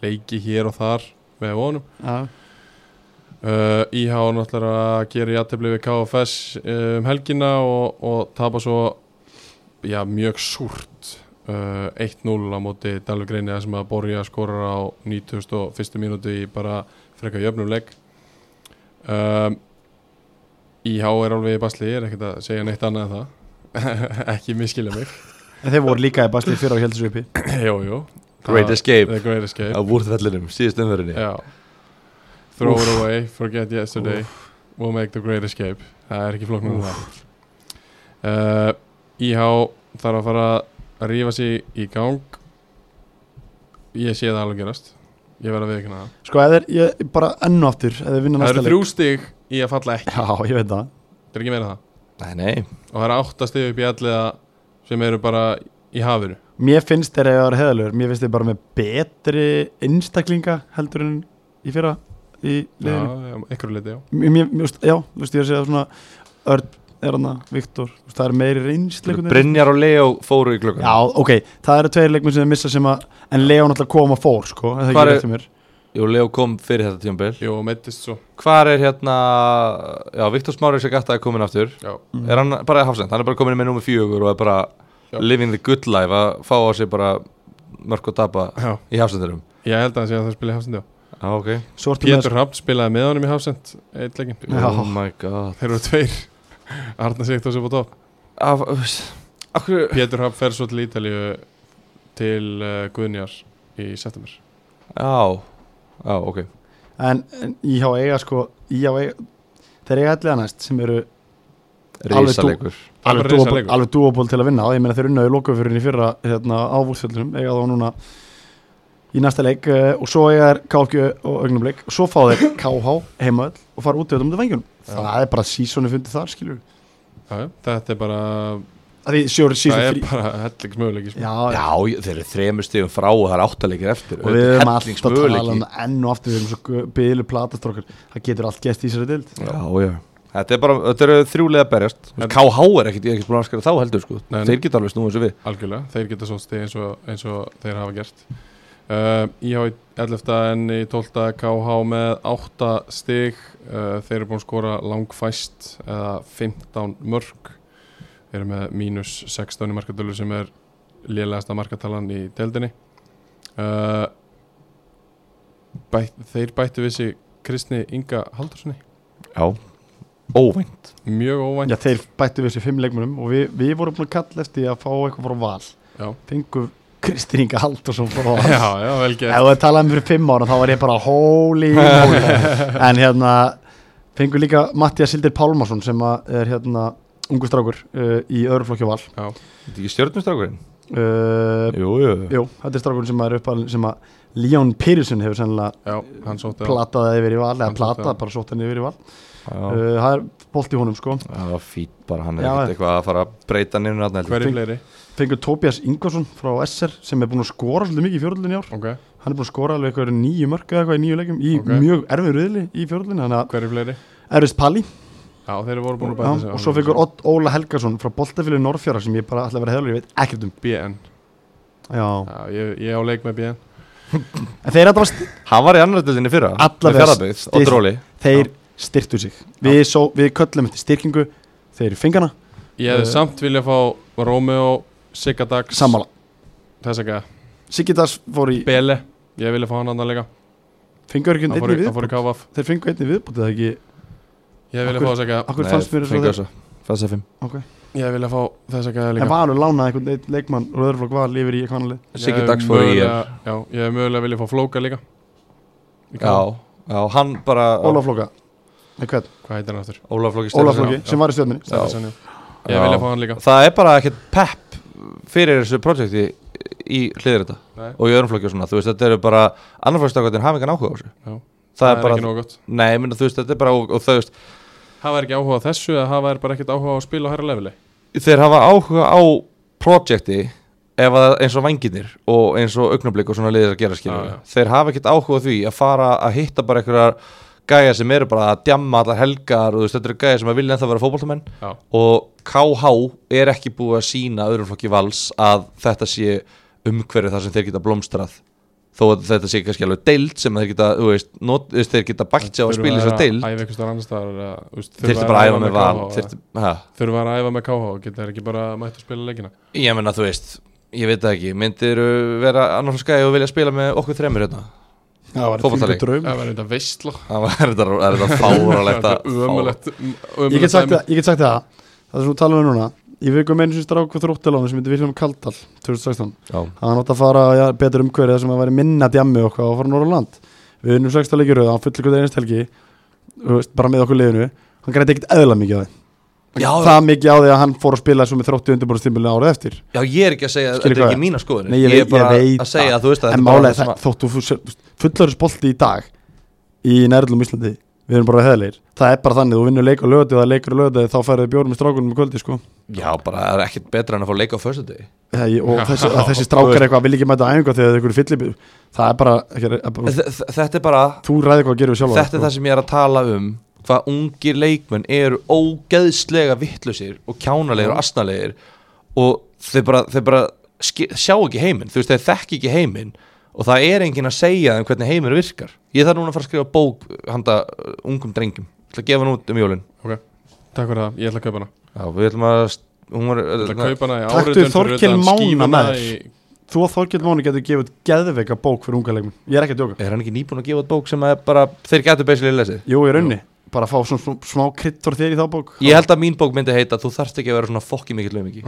leiki hér og þar Með vonum
Já,
Uh, IH náttúrulega að gera játefli við KFS uh, um helgina og, og tapa svo já, mjög súrt uh, 1-0 á móti Dalvigreini þar sem að Borja skorar á 91. mínútu í bara frekar jöfnum legg um, IH er alveg í basli, ég er ekkert að segja neitt annað en það ekki miskilja mig
En þeir voru líka í bastið fyrir á Hjeldsvipi
Jó, jú
Great
Það-
Escape
The Great Escape
á vúrðvellinum, síðust umverðinni
Já Throw
Úff.
it away, forget yesterday We'll make the great escape Það er ekki flokknum það uh, IH þarf að fara að rífa sig í gang Ég sé það alveg gerast Ég verð að viðkynna það
Sko, eða ég bara ennu aftur eða vinna
Það
næsta
eru
leik
þrjú stig í að falla ekki
Já, ég veit það
Það er ekki meira en það
Nei, nei,
Og það eru átta stig upp í alliða sem eru bara í hafinu
Mér finnst þeir að vera heðalögur Mér finnst þeir bara með betri einstaklinga heldur en í fyrra í
Já,
liðinu
já, einhverju liti, já
Mér, mér, mér, veist- Já, þú veist, ég er að segja svona Örn, er hana, Viktor þú veist, Það er meiri reynsli einhvern veginn.
Brynjar og Leo fóru í klukkan
Já, ok, það eru tveir leikmenn sem þeir missa sem að En Leon alltaf koma fór, sko er það
Hvar er-
ekki rétt hjá mér?
Jú, Leo kom fyrir þetta tímabil
Jú, meittist svo
Hvar er hérna, já, Viktor Smári sem gætta er komin aftur
Já,
Er hann bara hafsend, hann er bara komin með númer fjögur og er bara
Já.
living the good life að fá á sig bara mörg og tapa
já
í hafsendurum
Ég held að hann sé að það spila í hafsend, já
Já, ok
Svo ertu með
Pétur Rapp spilaði með honum í hafsend Eitt leikinn
Já.
Oh my god
Þeir eru tveir Arna Sigtós upp á topp
Af, uss, af hverju
Pétur Hafn fer svo til Ítalíu til uh, Guðnjar í september
Já, já, ok
En, en íhá eiga, sko Íhá eiga Þeir eiga allir næst sem eru Alveg dú-
Það
Rísalegur
er
alveg
bara
dúaból,
risaleikur.
alveg dúaból til að vinna og ég meina þeir unnaði lokafyririnn í fyrra hérna, á vúlsfjöldunum, eiga þá núna í næsta leik eh, og svo eiga þær KFG og augnumleik og svo fá þeir KH heimavöll og fara út í þetta um vengjunum það er bara sísoni fundið þar skilur
Já, já, Þetta er bara
að því sjóri
Það
sísoni
er
frí
bara helliks möguleiki sko.
já,
Já, ég- þeir eru þremur stigum frá og það er áttalegir eftir
og við erum alltaf
Hellingsmöguleiki.
að tala um það enn og aftur við erum svo byggðilu platastrókar það getur allt gæst í þessari dild
Já, já Þetta er bara, þetta eru þrjúlega að berjast
En-
KH er ekkit, ég er ekkit búin að skara þá heldur sko
Nei, nei.
Þeir geta alveg snúið eins og við
Algjörlega, þeir geta svo stið eins og, eins og þeir hafa gert uh, Íhá í 11. en í 12. KH með 8 stig uh, Þeir eru búin að skora langfæst eða 15 mörg Þeir eru með mínus 16 í markatölu sem er lélegasta markatalan í deildinni uh, bætt, Þeir bættu við sig Kristni Inga Haldurssoni
Já Óvænt
Mjög óvænt
já, þeir bættu við þessi fimm leikmunum og við, við vorum búin að kalla eftir því að fá eitthvað frá val
Já.
fengu Kristíninga Haldursson frá val
Já, já, vel
Ef
gert
þú talaði um fyrir fimm ára þá var ég bara holy moly En hérna fengur líka Mattias Sildir Pálmarsson sem að er hérna ungu strákur uh, í öðruflokki val
Þetta er ekki stjörnustrákurinn
uh,
Jú, jú
Jú, þetta er strákur sem að er uppalinn sem að Leon Pyrrhusson hefur sennilega
Já, hann sótti á-
plataði yfir í val eða
Hann sótti
plataði
á.
bara sótt henni yfir í val
Já,
Uh, það er bolt í honum sko
það var fít bara, hann er
Já,
ekkert
já.
eitthvað að fara að breyta nefnir hann heldur.
Hverju
Fink-
fleiri?
Fengur Tobias Ingvarsson frá SR sem er búin að skora svolítið mikið í fjörðlinni í ár
Ok,
Hann er búin að skora alveg eitthvað nýju mörg eða eitthvað í nýju leikum í
Ok.
mjög erfið riðli í fjörðlinni Þannig
hverju fleiri?
að Erfis Palli
Já, þeir voru búin að
Já,
bæta sig
og svo fengur Odd Óla Helgason frá Boltafílu Norrfjara sem ég bara ætla að vera heðalur, ég veit ekkert um
BN
Já,
Já, ég, ég á leik með BN
en þeir, allavega,
Hann var í annar dildinni fyrra, með
Allavega
fjarabyggð
stil-
og dróli
þeir styrtu sig við, svo, við köllum eftir styrkingu þeir fengana,
Ég hefði
Eh.
samt vilja fá Romeo, Sigadags
sammála
Þess að gæða
Sigitas fór í
Bele, ég vilja fá hann andan leika
fengur ekki
Hann
einni
fór í- hann fór í
viðbútt
KVF
þeir fengu einni viðbútt eða ekki
Ég vilja
Akkur-
fá þess að gæða
akkur fannst mér
fengur
þess
þessu Fannst það fimm
okay.
Ég vilja fá þess að gæða
en
líka
Valur lánaði einhvern einn leikmann Röðurflokk Val yfir í eitthvað annað lið
Ég
Siggi
hefði
Dags fór í
mögulega-
IR.
Já, ég hefði mögulega vilja fá Flóka líka Í
Já,
KVF.
já, hann bara
Ólaflokka, nei hvern,
Hvað heitir hann aftur?
Ólaflokki
Ólaflokki
já.
sem var í stjórninni
Já.
Stefánsson, já. Ég vilja fá hann líka
Það er bara ekkert pepp fyrir þessu projekti í hliðir þetta
Nei.
og í öðrum flokki og svona, þú veist, þetta eru bara annarflokkstakvæðin hafa engan áhuga á þessu
Já.
það,
Það
er
er
bara,
ekki nóg gott
nei, ég minna, þú veist, þetta er bara og, og þú veist,
Hafa er ekki áhuga á þessu eða hafa er bara ekkert áhuga á að spila á herra leveli
þeir hafa áhuga á projekti ef að eins og vanginir og eins og augnablik og svona liðir að gera skilur
Já, já.
þeir hafa ekkert áhuga á því að fara að hitta bara einhverjar gæja sem eru bara að djamma allar helgar og þú veist, þetta eru gæja sem að vilja ennþá vera fótboltamenn
Já,
og KH er ekki búið að sína öðrum flokki vals að þetta sé umhverju þar sem þeir geta blómstrað þó að þetta sé kannski alveg deild sem þeir geta, þú veist, not, þú veist þeir geta bætt sér á að spila þess að deild
Æfa einhvers þar annars þar
þurfti bara að æfa með val þyrfti, ha,
Þurfa að æfa með KH, geta þeir ekki bara mætt að spila leikina
ég menna þú veist, ég veit það ekki myndir vera annar skæði og vilja spila með okkur þremur hérna
það var
Fótboltaleik.
þvílíkur draumur.
Það var þetta veistla
það er þetta, það er þetta fáralegt að-
Ömulegt
ég get sagt það, ég get sagt það það er svona talað um núna ég veikum einu sem strák og þróttiláni sem heitir Vilhelm Kaldal 2016,
Já.
hann átt að fara ja, betur umhverfið þar sem að væri minna djammi og okkar og fara Norrland við unnum 16 leikir rauð, hann fullir hvernig einast helgi þú veist, bara með okkur liðinu hann græti ekkert eðla mikið á því
Já,
það mikið á því að hann fór að spila svo með þrótti undirbúrstýmbilinu árið eftir
já, ég er ekki að segja að
Skilur
þetta er
hvað?
ekki mína skoðun
Nei, ég
ég er
veit-
bara
ég veit
að segja að þú veist að
en
þetta er bara
málega
það sem
það,
að-
þótt þú fullarist bolti í dag í nærlum Íslandi við erum bara heðleir, það er bara þannig þú vinnur leik og lögðu, það er leikur og lögðu þá færðu bjórum með strákunum í kvöldi sko.
já, bara það er ekkert betra en að fá leika á föstu
Það, ég, og þessi, að þessi strákar eitthvað vil ekki mæta á æfingu þegar það er einhverju fyllibíl það er bara, ekki, er bara
þetta er bara
þú ræði hvað að gera við sko. sjálf
þetta er það sem ég er að tala um hvað ungir leikmenn eru ógeðslega vittlusir og kjánalegir og asnalegir og þeir bara, þeir bara ski, sjá ekki heiminn, þú veist þeir þekki ekki heiminn og það er enginn að segja þeim hvernig heiminn virkar ég þarf núna að fara að skrifa bók handa uh, ungum drengjum ég ætla að gefa hann út um jólun
Ok, takk fyrir það, ég ætla að kaupa hana
já, við ætlum að hún var, hérna,
Ég ætla að kaupa hana í
Taktu
áritun fyrir
Þorkel
utan
Mána
skífuna
með þér.
í-
þú og Þorkjöld Máni getur gefið út geðveika bók fyrir unga leikmenn, ég er ekki að djóka
er hann ekki nýbúin að gefa út bók sem að bara, þeir getur basically lesið
jú, ég raunni, bara fá svona smá- smá krydd frá þér í þá bók
ég held að mín bók myndi heita þú þarft ekki að vera svona fokki mikill laumingi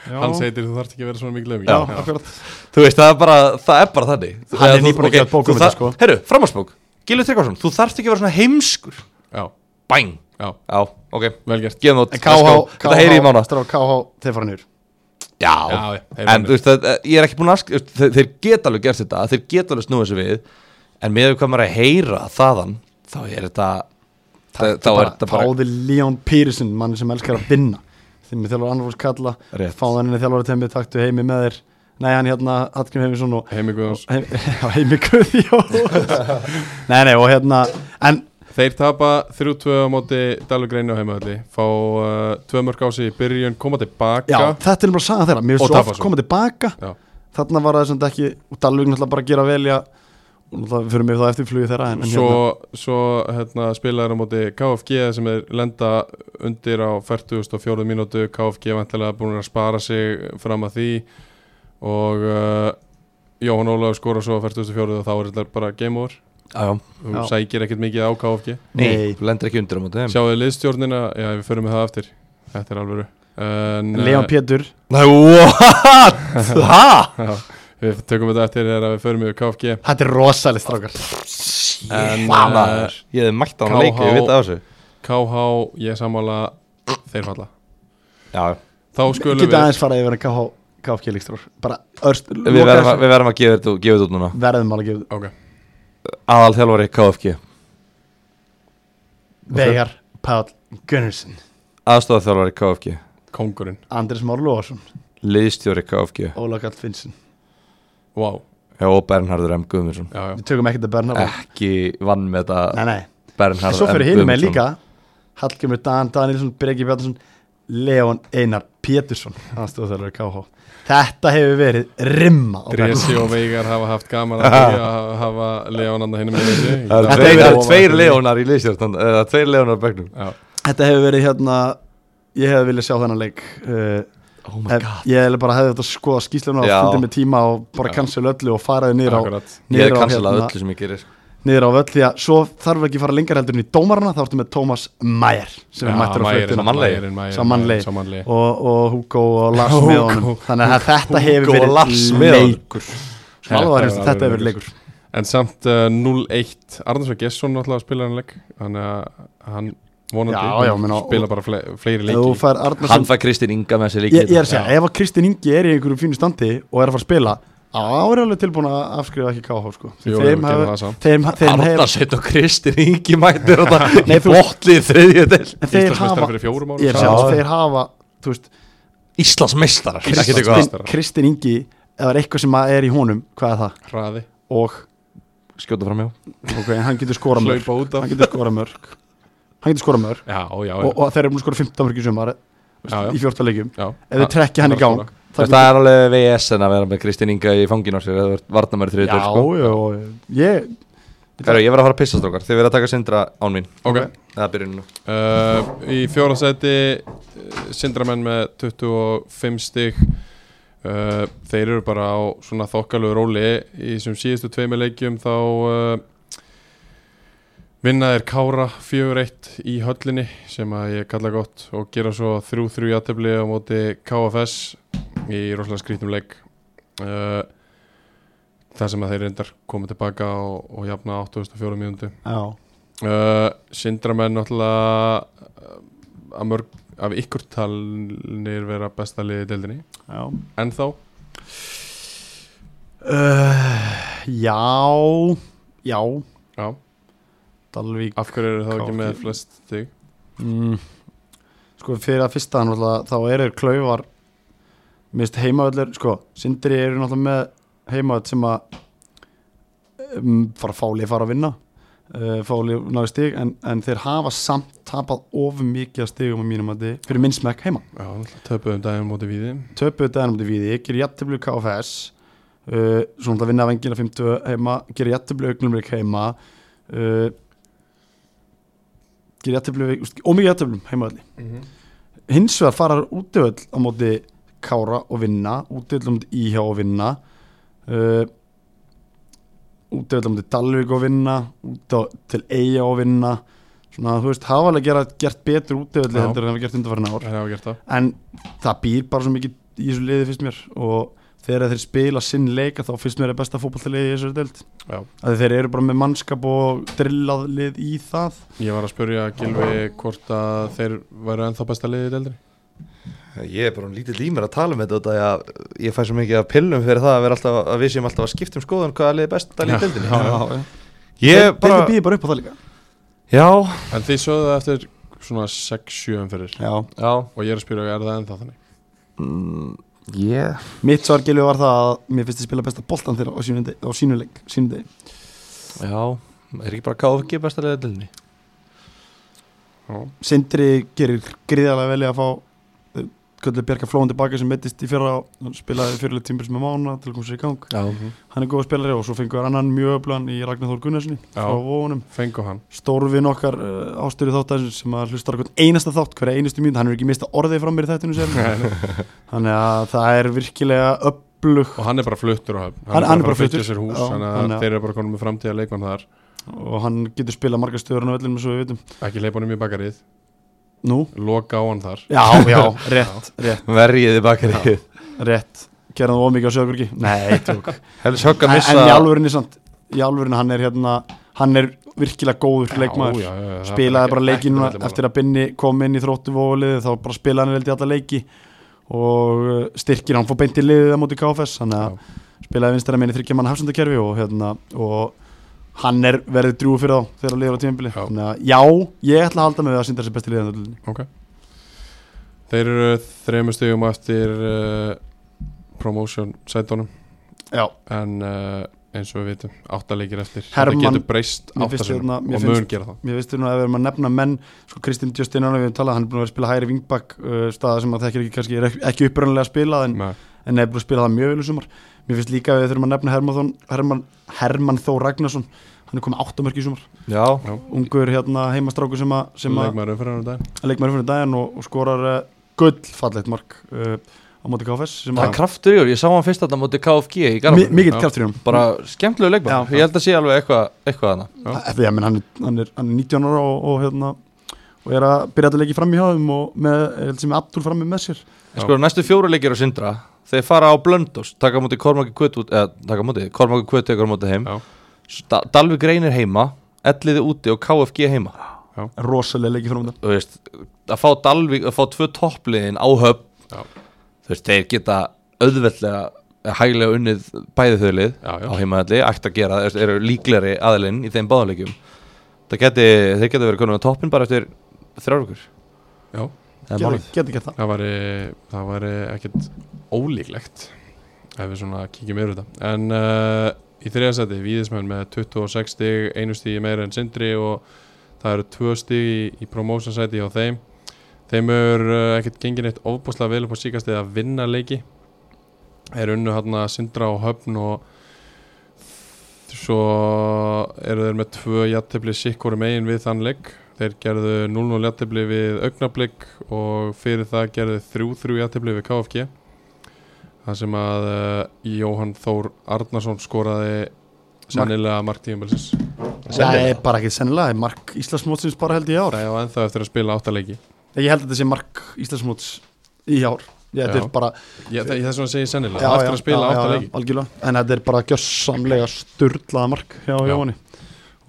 Hann heitir þú þarft ekki að vera svona mikið
já,
löfing
akkurat
Þú veist, það er bara, það er bara þannig
Hann er
Eða þú-
nýbúinn að
ok,
gefa út bók um
þú
þetta,
þar-
sko.
Heyrðu, framhaldsbók, Gilvi Tryggvarsson Þú þarft ekki að vera svona heimskur
Já,
Bæng
já,
Já, ok,
vel gert
gefum út
en KH,
Þetta heyri ég mána
strá KH, þeir fara nýr
Já,
Já,
ég- þeir
en
mennir.
þú veist, það, eh, ég er ekki búin að ask, þeir, þeir geta alveg gert þetta Þeir geta alveg snúið þessu við En með við hvað maður er að heyra þaðan Þá er þetta Þá er þetta bara
fáði Leon Pírisen, mann sem elskar að vinna þeim með þjálfur Annarfors Kalla
Rétt.
fáði hann inn í þjálfur temmið, taktu heimi með þér nei, hann hérna, Hallgrim Heimisson og
Heimi Guðjóns
heim, já, heimi Guðjóns Nei, nei, og hérna En
Þeir tapa 3-2 á móti Dalur Greinu á heimahöldi Fá uh, tvö mörg á sig í byrjun, koma tilbaka
já, þetta er bara að saga þeirra Mér
Og
finnst svo
tapa
oft
svo.
koma tilbaka
Já.
Þarna var það sem þetta ekki Og Dalvik náttúrulega bara að gera velja Og náttúrulega fyrir mig þá eftir flugi þeirra En, en
Svo, svo hérna, spilaður á móti KFG sem er lenda undir á 44 mínútu KFG vantilega búin að spara sig fram að því og uh, Jóhann Ólafur skora svo á 44 og þá er þetta bara game over
Já, já,
þú
Já.
sækir ekkert mikið á KFG
nei,
Nei.
þú lendir ekki undir á móti þeim
Sjáðu liðstjórnina, já við förum með það aftur Þetta er alvöru en, eh,
hérna, Leon Pétur
Nei, what? Ha?
uh, já, Við tökum þetta eftir þegar við förum með KFG
Þetta er rosalegt strákar
En,
Maður, eh, Ég hefði mætt á hann
KH
leik, ég veit það af þessu
KH, ég sammála þeir falla
Já,
þá skulum
Geta
við
aðeins fara yfir en KH KFG líkstrór Bara örst
Við verðum, að, við verðum að gefa þetta gefa þetta út núna
Verðum alveg að gefa
okay.
Aðal þjálfari KFG
Veigar Páll Gunnarsson
aðstofaþjálfari KFG
Kongurinn,
Andrés Már Lóarsson
liðstjóri KFG
Óla Kall Finnsson
wow
Já, og Bernhardur M. Guðmundsson
já, já.
Við tökum ekkert að Bernhard eh.
ekki vann með þetta
Nei, nei
Bernhardur
Svo
M.
fyrir hinum með
Guðmundsson.
líka Hallgjumur Dan Danielsson, Breki Bjarnason Leon Einar Pétursson Aðstofþjálfur KH Þetta hefur verið rimma á
Dresi og Veigar hafa haft gaman að því að hafa Leon andan hinnum með
Það
þessu
eru
Þetta
tveir,
er-
það eru tveir leonar í liðstjórn Það er tveir leonar á begnum
Já,
Þetta hefur verið hérna Ég hefði viljað sjá þennan leik uh,
Oh
hef, Ég hefði bara hefði þetta skoða skýslefna og
Já.
fundið með tíma og bara
Já.
cancel öllu og faraði niður á,
akkurat
Ég er
niður á, hérna.
kansalað öllu sem ég sko. gerir
niður á völl því að svo þarf ekki að fara lengar heldur en í dómarana þá ertu með Tómas Mæjar sem er mættur á flötuna
mannlegi.
Samanlegi.
Samanlegi
og, og Hugo og Lars
Hugo.
með honum þannig að þetta hefur
Hugo og Lars
verið
með honum.
leikur Sem alveg var reynst að þetta hefur verið leikur
En samt uh, 0-1 Arnarsveig Gesson náttúrulega spilar hann leik Þannig að hann vonandi
Já, já, meina,
spila bara fle fleiri
Ef þú
leiki
fær
Hann
Arnarsson
fær Kristinn Inga með sér líka
ég, ég er að segja, ef að Kristinn Ingi er í einhverju fínu standi og er að fara að spila árið alveg tilbúin að afskrifa ekki KH sko.
Jú, við gerum
þeim
það
hefur
samt.
þeim, þeim hef,
Arnarsveit og Kristinn Ingi mættir þetta
Nei,
Í
þú-
botlið þriðju del
þeir
Íslandsmeistar
hafa
fyrir fjórum árum
ég er að
Já.
segja,
Já.
þeir hafa þú veist,
Íslands meistarar Ekki
Íslands-
eitthvað
Kristinn, Kristinn Ingi ef það er eitthvað sem að er í honum, hvað er það
Hraði
og,
Skjóta fram hjá
ok, en hann getur skora mörg
Hlaupa út af
hann getur skora mörg hann getur skora mörg
Já, já, já
og, og þeir eru búin að skora 15 mörg í sumar eh,
já, já.
í 14 leikjum
já.
ef þau trekkja hann í gang
Það
það
er alveg VS en að vera með Kristinn Inga í fangin á sér eða varnamæri þriðju
getur-
del
já,
sko.
já, ég
Herru, Ég verð að fara að pissa strókar Þið verð að taka sindra án mín
Ok
Það byrjum nú
Uh, í fjóra seti Sindramenn með 25 stig uh, Þeir eru bara á svona þokkalögu róli Í þessum síðustu tveimur leikjum þá uh, vinna þeir Kára 4-1 í höllinni sem að ég kalla gott og gera svo 3-3 aðtefli á móti KFS í rosalega skrítum leik uh, þar sem að þeir reyndar koma tilbaka og, og jafna á 804 mínútu
já,
uh, Sindramenn náttúrulega uh, að mörg af ykkur talnir vera besta liðið í deildinni
já
en þá
Uh, já Já
já,
Dalvík
af hverju eru þá ekki
KG.
með flest stig
mm, Sko fyrir að fyrsta náttúrulega, Þá eru þeir klaufar Mist heimavöllur Sko Sindri eru náttúrulega með heimavöll sem að um, fara fáli fara að vinna uh, fáli náðu stig en, en þeir hafa samt tapað of mikið af stigum á mínum að þið fyrir minnsmekk heima
já, náttúrulega töpuðum daginn móti við
töpuðu dæðanum til viði, gerir jættiblu KFS uh, svo náttúrulega vinna vengina 50 heima, gerir jættiblu augnumleik heima uh, gerir jættiblu og mikið jættiblum heima allir
-hmm.
hins vegar fara útivöll á móti Kára og vinna, útivöll á móti Íhjá og vinna uh, útivöll á móti Dalvík og vinna út á, til Eyja og vinna svona þú veist, hafa alveg gera, gert betur útivölli
Já.
heldur en hafa gert undarfærin ár
það hafa gert það
en það býr bara svo mikið í þessu liði fyrst mér og þegar þeir spila sinn leika þá fyrst mér er besta fótballtaliði í þessu deild
já.
að þeir eru bara með mannskap og drillað lið í það
ég var að spurja Gilvi hvort að þeir væru ennþá besta liðið í deildinni
Ég er bara um lítið límur að tala með þetta ég, ég fæ svo mikið að pillum fyrir það að, vera alltaf, að við séum alltaf að skipta um skoðun hvaða liði best að liði dildinni
þeir,
Ég bara
þeir býður bara upp á það líka
Já,
en þið sögðu það eftir svona 6-7 umferðir
Já. Mm,
já
og ég er að spyrja er það ennþá þannig
yeah.
mitt svar gilvi var það að mér finnst þið spila besta boltan þeirra á sínu, degi- á sínu leik sínu degi
Já, er ekki bara KFG best að liði dildinni
já,
Sindri gerir gríðarlega vel í að fá uh, Köllu Bjarka Flóðan tilbaka sem mittist í fyrra á- hann spilaði fyrirlega tímpil sem er mána til að koma sér í gang
Já
hann er góð spilari og svo fengur annan mjög öflan í Ragnar Þór Gunnarssoni
Já.
frá vóunum
fengu hann
stórvin okkar uh, ástöru þáttarins sem að hlustar okkur einasta þátt hverja einustu mínúti, hann er ekki mista orðið frá mér í þættinu sem þannig að það er virkilega öflug
og hann er bara fluttur á höfn
Hann- hann er bara
að byggja
fluttur.
sér hús,
Já,
þannig
hann
að
er-
þeir eru bara konum með framtíða leikmann þar
og hann getur spilað margar stöður á vellinum svo við vitum
ekki leipa honum í bakarið
nú,
loka á hann þar
já, já, rétt, rétt,
Verjiði bakari
rétt gera það ómikið á sögurki, nei, tjók en,
Helst högg að missa
en í alvörinni samt í alvörinni hann er hérna hann er virkilega góður leikmaður
já, já, það
spilaði
er
bara
ekki-
leiki
ekki
núna
milli mála.
eftir að Binni kom inn í þróttu vóliði þá bara spilaði hann veldi alla leiki og uh, styrkir hann fór beint í liðið á móti KFS þannig að spilaði vinstara minni þryggja mann hafsendakerfi og, hérna, og hann er verið drúi fyrir þá þegar að liður á tímabili
Já.
Þannig að já, ég ætla að halda með að sindar sem besti liðan
Ok Þeir eru þremur stigum á eftir uh, promotion sætunum
Já,
en uh, eins og við vitum áttaleikir eftir
Hermann-
þetta getur breyst
mér finnst
áttaleikir
hérna-
og
mér
mun
finnst-
gera það
mér veist þurfum að ef við erum að nefna menn sko Kristinn Justin Arnold, við höfum talað, hann er búin að vera að spila hægri vingbak uh, staða sem að þekkir ekki, kannski er ek- ekki upprunnilega að spila en,
Nei,
en er búin að spila það mjög vel í sumar Mér finnst líka að við þurfum að nefna Hermann, Þón- Hermann, Hermann Þó Ragnarsson hann er komið áttamörk í sumar
Já,
ungur hérna heimastráku sem að, sem að
leikmaður umfyrir hann dag
leikmaður fyrir daginn og, og skorar uh, gullfallegt mark uh, á móti KFS sem
það er
að
kraftur í orð, ég sá hann fyrst þarna móti KFG í
mi-
Garabæn
mikill
Já.
kraftur í honum
Bara skemmtilegu leikmann,
Já.
ég held að sé alveg eitthvað eitthva hana
Já.
Eftir, ja, menn, hann, er, hann, er, hann er 19 ára og, og hérna og er að byrja að leikja fram í hafum og með, er sem Abdul frammi með sér
En sko, næstu fjóra leikir á Sindra þeir fara á Blöndos, taka á móti Kormaki Kvöt út- eða taka á móti, Kormaki Kvöt tekur á móti heim
Já.
Da- Dalvik Reynir heima Elliði úti og KFG heima
rosalega leikja fram
Þú veist, að fá Dalvik að fá tvö toppliðin á höfn
Já.
þú veist, þeir geta auðveldlega eða hæglega unnið bæði þau lið
Já, já.
á heimaðalli, ætti að gera það, þú veist, eru líklegri aðilinn í þeim báðanleikjum það geti, þeir geta verið konum á toppin bara eftir þrjárvíkur
Já,
Geti geti gert það
það væri, það væri ekkert ólíklegt ef við svona kíkjum yfir þetta en uh, í þriðasæti, Víðismenn með 26 stig, einu stig meira en Sindri og það eru tvö stig í, í promotion sæti hjá þeim þeim eru uh, ekkert gengin eitt ofbúslega vel upp á síkast eða vinna leiki er unnu hann að Sindra og Höfn og svo eru þeir með tvö jættefli sikkur megin við þann leik Þeir gerðu 0-0 jættibli við augnablik og fyrir það gerðu 3-3 jættibli við KFG. Það sem að uh, Jóhann Þór Arnarsson skoraði sennilega marktíðumbilsins.
Það er bara ekki sennilega, það er mark Íslandsmótsins bara held ég í ár
Það var ennþá eftir að spila áttaleiki.
Ég held að þetta sé mark Íslandsmóts í ár Ég, þetta
Já.
er bara
Ég, það, þess vegna segi ég sennilega,
já,
eftir
já,
að spila
já, já,
áttaleiki.
já, algjörlega, en þetta er bara gjössamlega sturlaða mark hjá
Já.
Jóhanni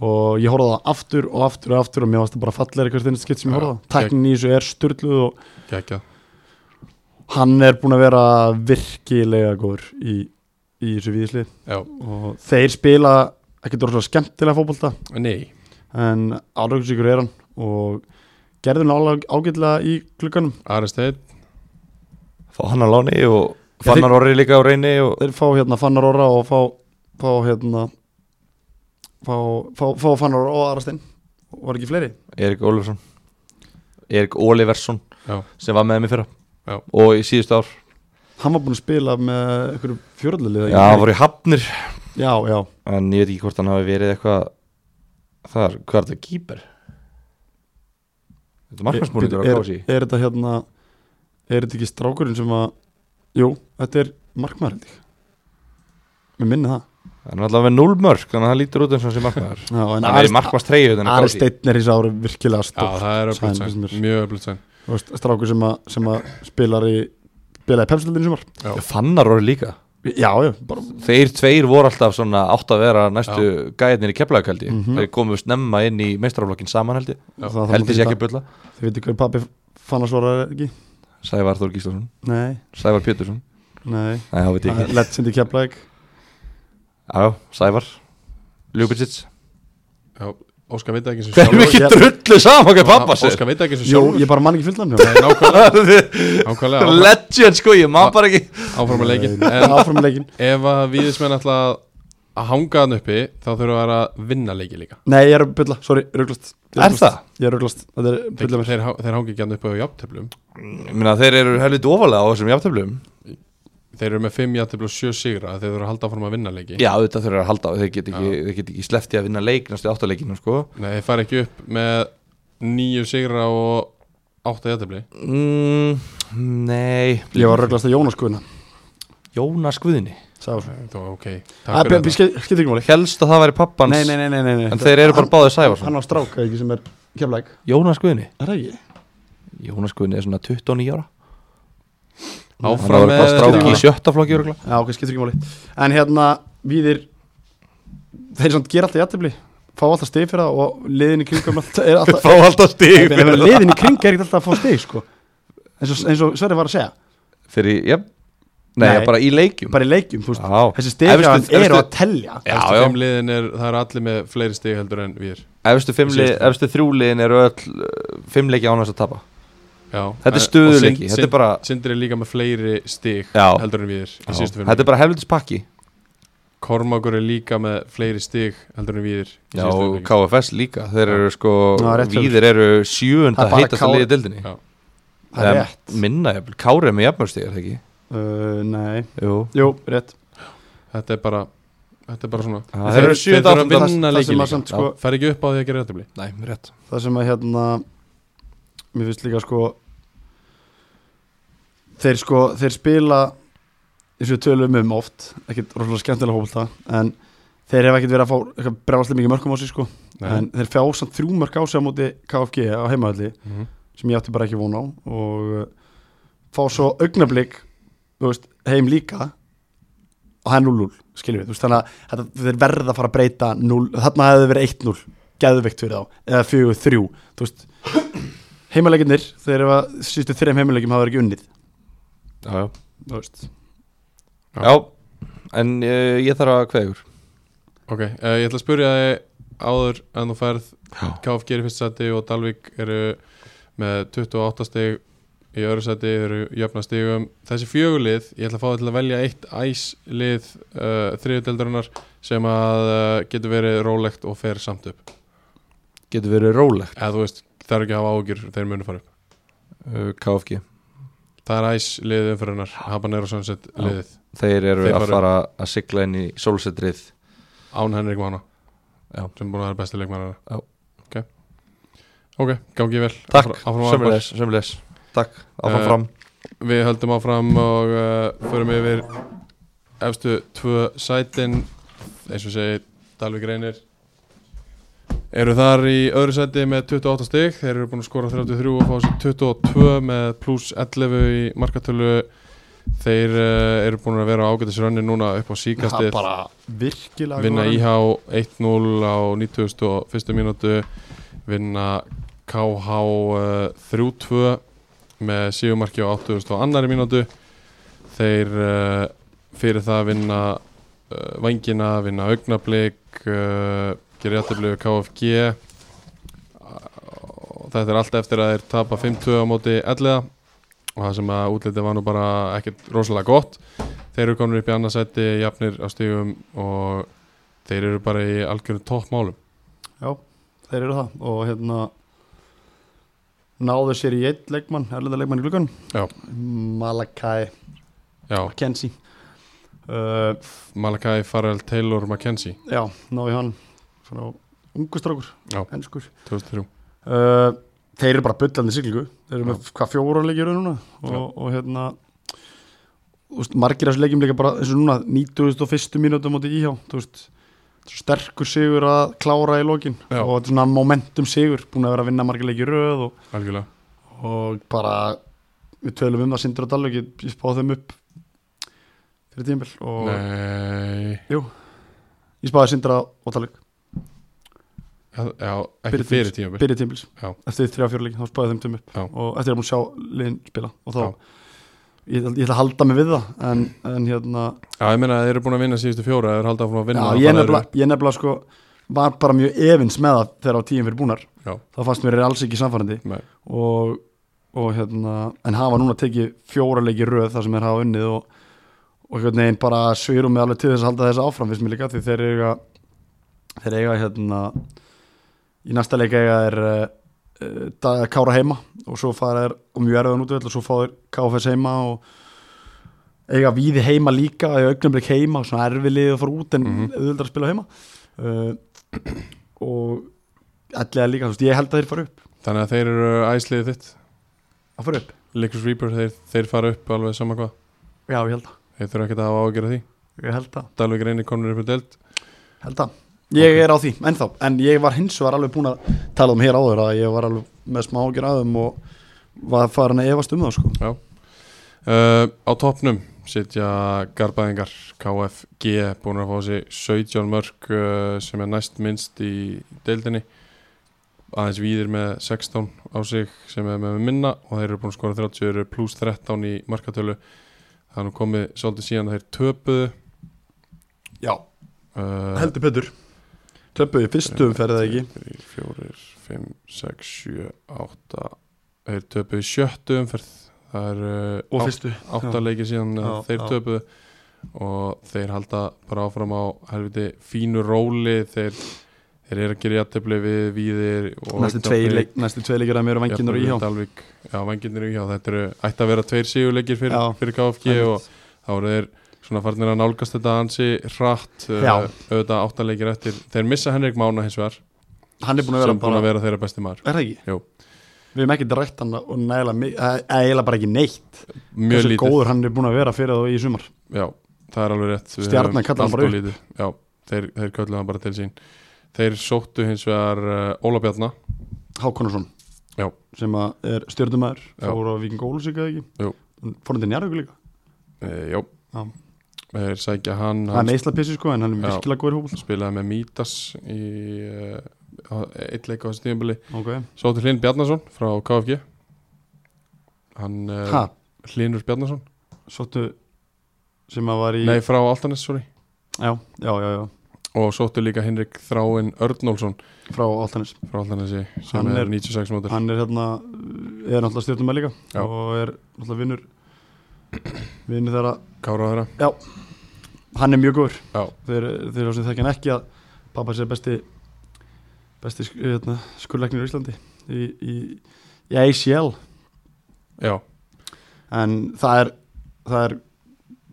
og ég horfði á það aftur og aftur og aftur og mér varst það bara fallegri hvert einnig skipt sem ég
Já,
horfði á það tæknin í þessu er sturluð og
Gekka.
hann er búin að vera virkilega góður í, í þessu viðisli
Já,
og þeir spila ekki dórlega skemmtilega fótbolta
nei.
en álaugursíkur er hann og gerði hann ágætlega í klukkanum
Ari Steinn,
fá hann að láni og
Já,
fannar orri líka á reyni og
þeir fá hérna Fannar Orra og fá, fá hérna fá, fá, fá Fannar Orra og Arastein var ekki fleiri
Erik Ólafsson Erik Oliversson
Já.
sem var með mér fyrra
Já.
og í síðust ár
hann var búinn að spila með einhverju fjörðlið
Já, hann voru í Hafnir
já, já,
en ég veit ekki hvort hann hafi verið eitthvað þar, hvað er þetta, kýper? Þetta er markmannsmúningur á
er,
Kási
er þetta hérna er þetta ekki strákurinn sem að jú, þetta er markmaður held ég mér minni það
hann er alltaf með 0 mörg, þannig að hann lítur út eins og hann sé markmaður
já, en
hann er í markmannstreyju þannig að
Ari
Kási
Steinn er í þessu ári virkilega
já
stór
það er
Sæn,
öflugt sæn,
finnst mér.
mjög öflugt sæn.
Þú veist, strákur sem að, sem að spilar í spilaði pepsildinu sumar
fannar orði líka
já, já, bara
þeir tveir voru alltaf svona átt að vera næstu gæðinir í keflagakældi mm
Mhm.
þeir komu snemma inn í meistraflokkin saman held ég
Já,
það- það-
held ég sé ekki að bulla
þið veitir hver pappi Fannar Orra er ekki
Sævar Þór Gíslason,
nei,
Sævar Pétursson
nei
Nei, það veit ég
Það
ekki
er Legend í Keflæk
Já, já, Sævar Ljúbitsits
Já, Óskar veit ekki sem
Við erum
sjálfur.
ekki drullu saman okkar pappa sér
Óskar veit ekki sem
Jú,
sjálfur.
ég bara man ekki fyllan
Það er Nákvæmlega, nákvæmlega áfram-
Legend sko, ég má bara ekki
áfram að leiki. En
Áfram í leikin
ef að viðismenn ætla að- að hanga hann uppi þá þurfa þær að vinna leiki líka
Nei, ég er að bylla, sorry, rugglast Ég
Er það?
Ég er rugglast, þetta er
þeir,
bylla mér
þeir, há- þeir hangi ekki hann uppi á jafntöflum
Ég meina, þeir eru helviti ofalega á þessum jafntöflum
þeir eru með 5 jafntöfl og 7 sigra þeir þurfa að halda áfram að vinna leiki
Já, þetta þurfa að halda á, þeir get ekki, þeir get ekki slefti að vinna leik næstu áttaleikinu sko
Nei, þeir fara ekki upp með 9 sigra og 8 jafntöfli
mm, Nei
Ég var að rugglast að Jónas Guðna
Jónas Guðni
Sáður
Þá ok,
Eh,
takk fyrir þetta
Skilt ekki máli
Helst að það væri pappans
Nei, nei, nei, nei, nei, nei.
En þeir eru bara
Hann-
báðir Sævarsson.
Hann á strák, eða ekki, sem er Keflæk
Jónas Guðni
Er það ekki?
Jónas Guðni er svona 29 ára Hann
Áfram
var
með
eitthvað stráki
Já.
í sjötta flokki örugglega.
Já, ok, skilt ekki máli En hérna, viðir Þeir samt gera alltaf jættibli Fá alltaf stig fyrir það og liðin í kringum alltaf, er alltaf,
Fá alltaf stig
Nei, nei, Liðin í kring er ekkert alltaf að fá stig, sko Eins og, eins og Sverri var að segja
Fyrir, já, Nei,
Nei.
bara í leikjum
bara í leikjum, þú veist
Já,
þessi
Efstu-
stegjaðan eru
efstu-
að telja
já,
Efstu
já.
fimm liðin er, það er allir með fleiri stig heldur en við
Efstu, fimm lið-
Síðustu.
efstu þrjúliðin eru öll uh, fimmleiki ánvægst að tapa
Já,
Þetta er stöðuleiki, þetta er bara
Sindri er líka með fleiri stig
Já.
heldur en við í
já,
síðustu fimm
Þetta er bara helvitis pakki
Kormákur er líka með fleiri stig heldur en við í
Já,
síðustu fimm
og
leikjum.
KFS líka Þeir eru sko,
Já, rétt hjá
víðir eru sjöunda
Það er bara
heitast að
Kári.
liða dildinni
Já.
það er
Eða
rétt
Minna, jafnvel. Kári er með jafnmörstegi, er það ekki?
uh, nei,
Jú
jú, rétt
Þetta er bara Þetta er bara svona
Já,
Þeir
þeir
eru
eru
sjö
sjöunda
að
áttunda.
vinna
það
leiki
sem að
líka
samt sko
Fer ekki upp á því að gera jafntefli
Nei, rétt
það sem að hérna mér finnst líka sko þeir sko, þeir spila eins og við tölum um oft ekkert rosalega skemmtilega hópa en þeir hefa ekkert verið að fá eitthvað brjáðslega mikið mörgum á sig sko en þeir fjá samt þrjú mörg á sig á móti KFG á heimahalli
Mhm.
sem ég átti bara ekki von á og uh, fá svo augnablík veist, heim líka og það er 0-0 skiljum við, þú veist, þannig að þetta, þeir verða að fara að breyta 0, þarna hefði verið 1-0 geðveikt fyrir þá, eða 4-3 þú veist, heimaleginir þeir eru að sístu þreim heimalegjum hafa verið ekki unnið
Já, já
þú veist,
Já.
Já, en uh, ég þarf að kveða ykkur
Ok, uh, ég ætla að spyrja þig áður en þú færð
Já.
KFG er í fyrsta seti og Dalvik eru með 28 stig í öðru seti eru jöfna stigum þessi fjögulið, ég ætla að fá þig til að velja eitt æslið uh, þriðuteldarinnar sem að uh, getur verið rólegt og fer samt upp
Getur verið rólegt
eða þú veist, það er ekki að hafa ágjur þeir munu fara upp
uh, KFG
það er æslið umfyrunar, Habanero Sunset liðið
Þeir eru
Þeir
að
fara-
fara að sigla inn í sólsetrið
án Henrik Mána
Já.
sem búin að vera besti leikmæra
Já.
ok, ok, gangi vel
Takk,
Áfram- áfram Arnar.
sömulegis, sömulegis Takk, áfram
Eh,
fram
Við höldum áfram og uh, förum yfir efstu tvö sætin eins og segi Dalvik reynir eru þar í öðru sæti með 28 stig þeir eru búin að skora 33 og fá sér 22 með pluss 11 í markatölu þeir uh, eru búin að vera á ágætis rönni núna upp á
það
síkastið
er bara virkilega
vinna
góðan.
IH 1-0 á 91. mínútu vinna KH eh, 3-2 með sígumarki á 82. mínútu þeir eh, fyrir það vinna uh, vangina, vinna augnablík uh, gera jættiflegu KFG og þetta er allt eftir að þeir tapa 5-2 á móti 11 og það sem að útlitið var nú bara ekkert rosalega gott þeir eru komin upp í annarsætti jafnir á stígum og þeir eru bara í algjörum toppmálum
Já, þeir eru það og hérna náðu sér í eitt leikmann, erlenda leikmann í glukkan
Já.
Malakai
já,
Kensi uh,
Malakai Farrell Taylor McKenzie
Já, náðu í hann svona ungu strákur,
Já.
ennskur
2003
uh, Þeir eru bara bullandi siglingu þeir eru með hvað fjóra leikir eru núna
Já.
og, og hérna úst, margir af þessu leikjum leika bara eins og núna 91. mínútu á móti íhjá þú veist svo sterkur sigur að klára í lokin
Já.
og þetta er svona momentum sigur búin að vera að vinna margir leiki í röð og
algjörlega
og bara við tölum um það Sindri og Dalvik ég ég spáði þeim upp fyrir tímbil og
Nei,
ég spáði Sindra og Dalvik
já, já ekki
Byrjum
fyrir tíma
byrja tímbils
Já.
eftir þrjá fjörleik þá spáði þeim tveim upp
Já.
og eftir að múl sjá liðin spila og þá
Já.
ég, ætla- ég ætla að halda mig við það en, en hérna
já, ég meina þeir eru búin að vinna síðustu fjóra þeir eru haldið áfram að
já,
vinna
ég,
þannig að þeir
nefnilega, ég nefnilega sko var bara mjög efins með það þegar á tíum fyrir búnar
Já.
þá fannst mér er alls ekki samfærandi
eru- Nei,
og, og hérna en hafa núna tekið fjóra leiki í röð þar sem þeir hafa unnið og, og einhvern veginn bara svirum með alveg til þess að halda þess áfram finnst mér líka því þeir eiga þeir eiga hérna í næsta leik eiga er uh, Kára heima og svo fara þeir og mjög erfiðan útvöld og svo fá þeir KFS heima og eiga víði heima líka í augnumleik heima og svona erfilið að fara út en
Mhm.
auðvöldar að spila heima uh, og allega líka, þú veist, ég held að þeir fara upp
þannig að þeir eru æsliðið þitt
að fara upp,
Lickers Reaper, þeir, þeir fara upp alveg sama hvað
já ég held að
þeir þurfa ekki að hafa ágjörð því
Ég held það,
Dalvik reynir konur upp í delt
held það Ég er á því, ennþá, en ég var hins og var alveg búin að tala um hér áður að ég var alveg með smá ágjur aðum og var farin að efast um það sko
Uh, á toppnum sitja Garbaðingar KFG búin að fá sér 17 mörg uh, sem er næst minnst í deildinni aðeins víðir með 16 á sig sem er með minna og þeir eru búin að skora 30 pluss 13 í markatölu Það er nú komið svolítið síðan að þeir töpuðu
Já,
uh,
heldur Petur Töpuðu í fyrstu umferð eða ekki
3, 4, 5, 6, 7, 8 Þeir töpuðu í sjöttu umferð Það er
Og
uh,
fyrstu
átta leikir síðan já,
Já,
þeir
já.
töpuðu og þeir halda bara áfram á helviti fínu róli þeir, þeir eru að gera jættöfli við víðir og
Næstu tvei leik, næstu tvei leikir að mér og vanginnur í hjá
Dalvik, já, vanginir og íhjá þetta eru, ætti að vera tveir síguleikir fyrir,
Já,
fyrir KFG og þá eru þeir svona farnir að nálgast þetta ansi hratt uh,
Já.
auðvitað áttaleikir eftir þeir missa Henrik Mána hins vegar
Hann er búin að vera
sem búin
bara
að vera þeirra besti maður
Er það ekki?
Jú.
Við hefum ekki drætt hann og nægilega mi- eh, eiginlega bara ekki neitt
mjög
Þessu
lítið,
góður hann er búin að vera fyrir þá í sumar
já, það er alveg rétt Við
Stjarnan
höfum
kallar hann
allt
bara
of lítið. já, þeir, þeir kallar hann bara til sín þeir sóttu hins vegar uh, Óla Bjarnar
Hákonarsson
Já.
sem að er stjörnumæður
Já.
fór á Viking Ólus ekki
Jú.
fór hann til Njarvík líka
uh, já,
Já.
þeir sækja hann
það er
hann
meðsla pissi sko en hann er
Já.
virkilega góður hópul
spilaði með Mítas í uh, eitt leik á þessu tíðanbili
okay.
Sóttu Hlynur Bjarnason frá KFG Hann
ha,
uh, Hlynur Bjarnason
sóttu sem að var í
Nei, frá Altanes, sorry
já, já, já, já,
Og sóttu líka Henrik Þráin Örnólfsson
frá Altanis
frá Altanesi sem
Hann
er,
er-
96 mótur
hann er hérna er náttúrulega stjórnumæð líka
Já.
og er náttúrulega vinnur vinnur þeirra
Kára þeirra
hann er mjög góður
Já.
þeir, þeir eru sem þekkja hann ekki að pappa sé besti besti sk- hérna, skurleiknir í Íslandi í, í, í ACL
Já,
en það er það er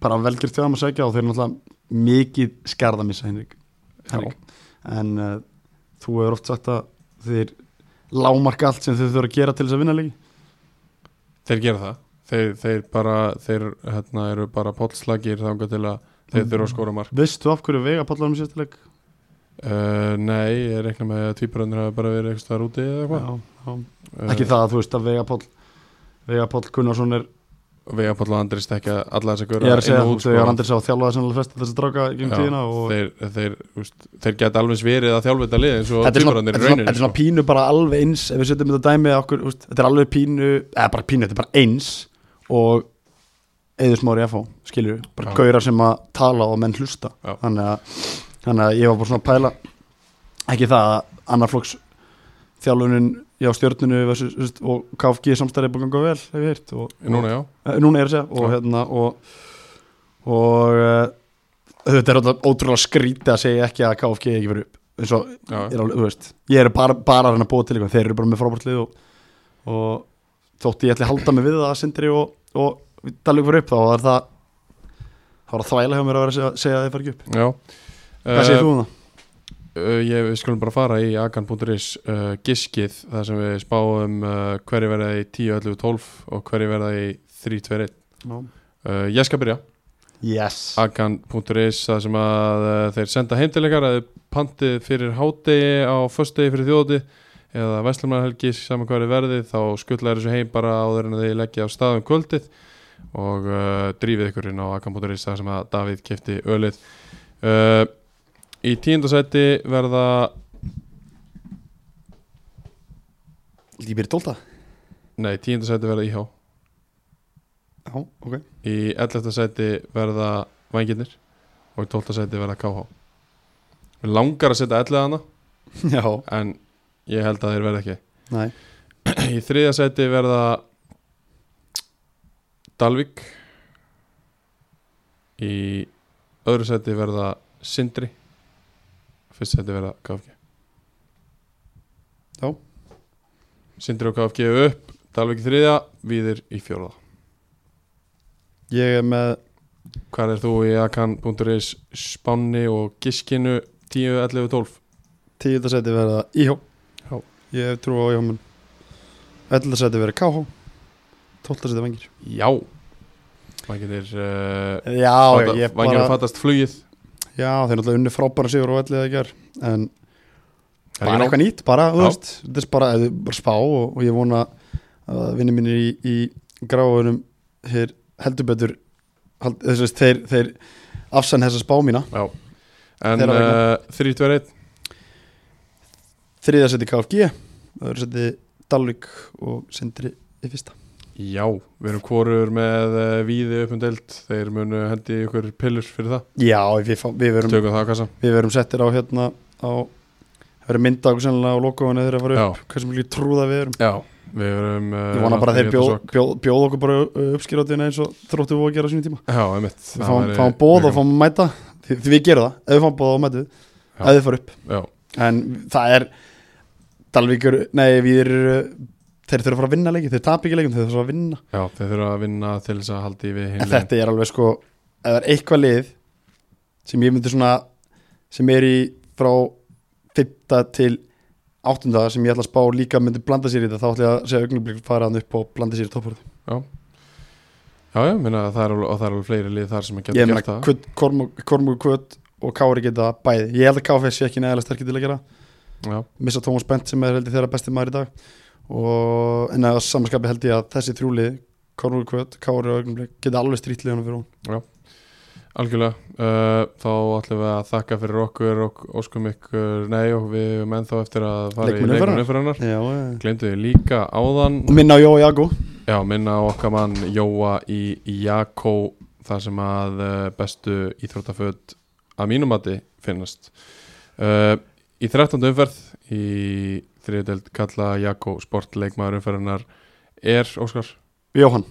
bara velgjört þegar maður segja og þeir eru náttúrulega mikið skarðamissa Henrik, Henrik. en uh, þú hefur oft sagt að þeir lámarka allt sem þeir þurfa að gera til þess að vinna leiki
þeir gera það Þeir, þeir bara, þeir hérna eru bara pollslagir þangað til að þeir
Mm.
þurfa að skóra mark
veistu af hverju vega pallar um sérstileik
uh, Nei, ég rekna með að tvíbröndin hafa bara verið eitthvað úti eða eitthvað uh,
ekki það að þú veist að vega pall vega pall Gunnarsson er
Vega Páll og Andri stekja alla þess að sko.
ég er að segja þú vegar Andris á að þjálfa þess að flest þess að dráka gegn tíðina og
þeir, þeir, úst, þeir geta alveg verið að þjálfa þetta lið eins og sko.
þetta er, svona,
tvíbröndin
þetta, er svona, þetta er svona pínu bara alveg eins ef við setjum þetta dæmi okkur, úst, þetta er alveg pínu eða bara pínu, þetta er bara eins og eður smári FH, skilur við bara
Já.
gaurar sem að tala og menn hlusta
Já.
þannig að, þannig að ég var bara svona að pæla ekki það að annarflokks þjálfunin hjá stjórnunu og KFG samstæri búið að ganga vel, hef ég heyrt og,
Núna já,
Eh, núna er að segja og
Já.
hérna og, og uh, þetta er alltaf ótrúlega skrítið að segja ekki að KFG ekki verið upp eins og
já.
er alveg, þú veist ég er bara, bara að reyna að búa til eitthvað, þeir eru bara með frábært lið og, og þótt ég ætli að halda mig við það að sindri og, og Dalvik verið upp þá er það þá er það þvæla hjá mér að vera að segja, segja að þeir fara ekki upp
já.
hvað
Eh,
segir þú um það?
Uh, ég, við skulum bara fara í akan.is uh, giskið þar sem við spáum uh, hverju verða í 10, 11, 12 og hverju verða í 3, 2, 1 uh, Ég skal byrja
yes,
Ah. akan.is þar sem að uh, þeir senda heim til ykkar að þið pantið fyrir hádegi á föstudegi fyrir þjóti eða veslumarhelgi saman hverju verði þá skuttlar þessu heim bara áður en að þið leggja á staðum um kvöldið og uh, drífið ykkur inn á akan.is þar sem að Davíð kefti ölið uh, Í tíundasæti verða
lífið er tólta
Nei, tíunda sæti verða IH
já, ok
Í 11. sæti verða Vængirnir Og í 12. sæti verða KH Mér langar að setja 11 hana
já,
En ég held að þeir verða ekki
næ,
Í 3. sæti verða Dalvik Í öðru sæti verða Sindri Fyrst sæti verða KFG
Já.
Sindri og KFG eru upp Dalvik í þriðja, Víðir í fjórða
ég er með
Hvað er þú í akan.is spánni og giskinu 10, 11, 12?
tíundasæti verða IH
Já.
ég hef trú á IH mun ætlandasæti verða KH tóltasæti vengir
Já Maður getur uh,
já, já, ég
Maður getur
bara
fattast flugið
já, þeir náttúrulega unni frábæra sigur og ætlið að gera en
Það
bara
er ekki nóg.
eitthvað nýtt bara, þú
Já.
veist, þetta er bara, þetta er bara spá og, og ég vona að vinni mínir í, í gráðunum hér heldur betur hald, þess að þeir, þeir afsann þessa spá mína
En
Þeirra
uh,
vegna.
3, 2, 1
þriðja seti KFG öðru seti Dalvik og sindri í fyrsta
Já, við erum hvorur með uh, víði upp um deild Þeir munu hendi ykkur pillur fyrir það
Já, við, fá- við, verum,
Tökum það að kassa
við verum settir á hérna á, það verður mynda okkur sennilega á lokofunni þegar
Já.
það var upp, hversu mikið trúða við erum
Já, við erum uh,
Ég vona bara að þeir
Rétta
bjóð,
sokk.
bjóð, bjóð okkur bara uppskýrátina eins og þróttu við að gera á sínum tíma
Já, einmitt
Við
Það
fáum,
væri
fáum bóð
mjög
og fáum að mæta því, því við gerum það, ef við fáum bóð og mætu
Já.
ef við fara upp
gaman. Já,
en það er Dalvíkur, nei við erum þeir þurfa að fara að vinna leikið, þeir tap ekki leikum þeir þurfa að vinna,
já, þeir þurfa að vinna til þess að haldi við
en
hinn
þetta er alveg sko ef það er eitthvað lið sem ég myndi svona sem er í frá 5. til 8. sem ég ætla að spá líka myndi blanda sér í þetta, þá ætla ég að segja augnublik fara hann upp og blanda sér í topporðu
Já, já, minna, það er alveg, og það er alveg fleiri lið þar sem að geta
ég meina
gert það
Kvöt- Kormák- Kormákur Kvöt og Kári geta bæði ég held að KFS sé ekki neðalega sterkir til að gera
Já,
missa Tómas Bent sem er heldur þeirra besti maður í dag og en að samanskapi held ég að þessi þrjúli Kormákur Kvöt, Kári og Ögnumlik geta alveg strýtlið hann fyrir hún
algjörlega uh, Þá ætlum við að þakka fyrir okkur og óskum ykkur Nei, og við erum ennþá eftir að fara
Leikmenn
í leikmennu
umferðarinnar.
fyrir hennar
Já, eh.
Glemdu þið líka áðan
og minna á Jóa Jago
Já, minna á okkar mann Jóa í Jakó þar sem að eh, bestu íþróttaföt að mínumati finnast uh, Í 13. umferð í þriðdelt kalla Jakó sportleikmaður umferðinar er Óskar
Jóhann,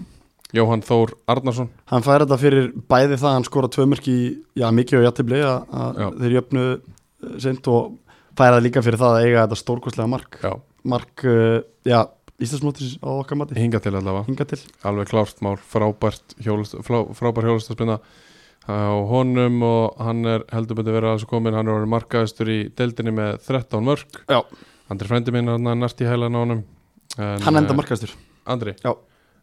Jóhann Þór Arnarsson
hann fær þetta fyrir bæði það að hann skora tvö mörk í já, mikið og jættibli að
Já.
þeir jöfnu eh, seint og fær það líka fyrir það að eiga þetta stórkostlega mark
Já,
mark, eh, já, Íslandsmótis á okkar mati,
hinga til allavega
hinga til
alveg klárt mál, frábært hjólast, flá, frábær hjólastaspinna á honum og hann er heldur betur verið að þessu komin, hann er orðin markaðistur í deildinni með 13 mörg
Já.
Andri frændi minn hann er nært í hælan á honum en,
hann enda
eh,
markastur
Andri?
Já.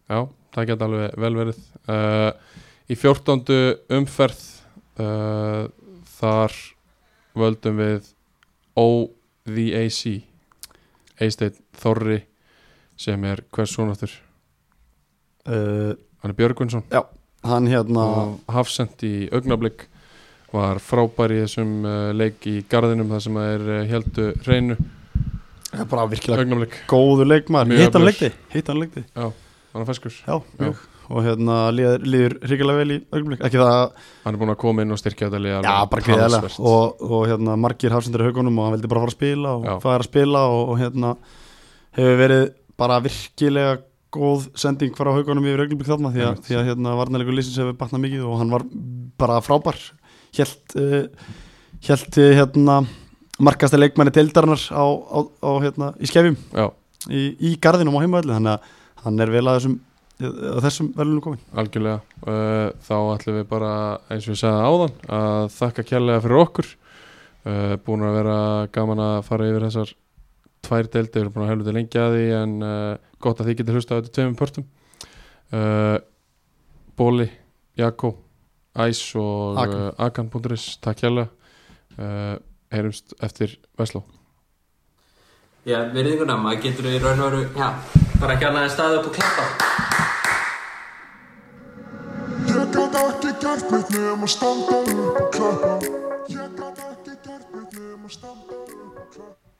Já, það geta alveg vel verið uh, Í 14. umferð uh, þar völdum við OVAC Eisteinn Þorri sem er hvers son aftur
uh,
hann er Björgvinsson
hann hérna
og hafsend í augnablik var frábær í þessum uh, leik í garðinum þar sem það er uh, heldu reynu
er bara virkilega
augnablik,
góður leikmaður
Mjög
hitt hann
öflugur.
leikti, hitt hann leikti
hann er feskur
já, mjög og hérna líður, líður hryggilega vel í augnblik ekki það,
hann er búin að koma inn og styrkja þetta liða
já bara greiðilega og, og hérna margir hafsendur í haugunum og hann vildi bara fara að spila og
Já.
fara að spila og, og hérna hefur verið bara virkilega góð sending fara á haugunum yfir augnblik þarna því að,
Einmitt.
því að hérna varnarlegu lýsins hefur batnað mikið og hann var bara frábær helt, uh, helt uh, hérna markasta leikmanni deildarinnar á, á, á hérna í skefjum
já,
í, í garðinum á heimaðalli þannig að hann er vel að þessum, að þessum velunum komin
Algjörlega, uh, þá ætlum við bara eins og ég sagði áðan að þakka kærlega fyrir okkur uh, búin að vera gaman að fara yfir þessar tvær deildi, við erum búin að helvita lengi að því en uh, gott að þið getur hlusta á þetta tveimum pörtum uh, Bóli, Jakko Æs og
Akan.
uh, Akan.is, takk kærlega uh, heyrumst eftir Vesló
Já, virðinguna, maður getur í raun og veru, já, bara ekki annað en staðið upp og klappa.
Ég gat ekki gert mitt nema standa upp og klappa Ég gat ekki gert mitt nema standa upp og klappa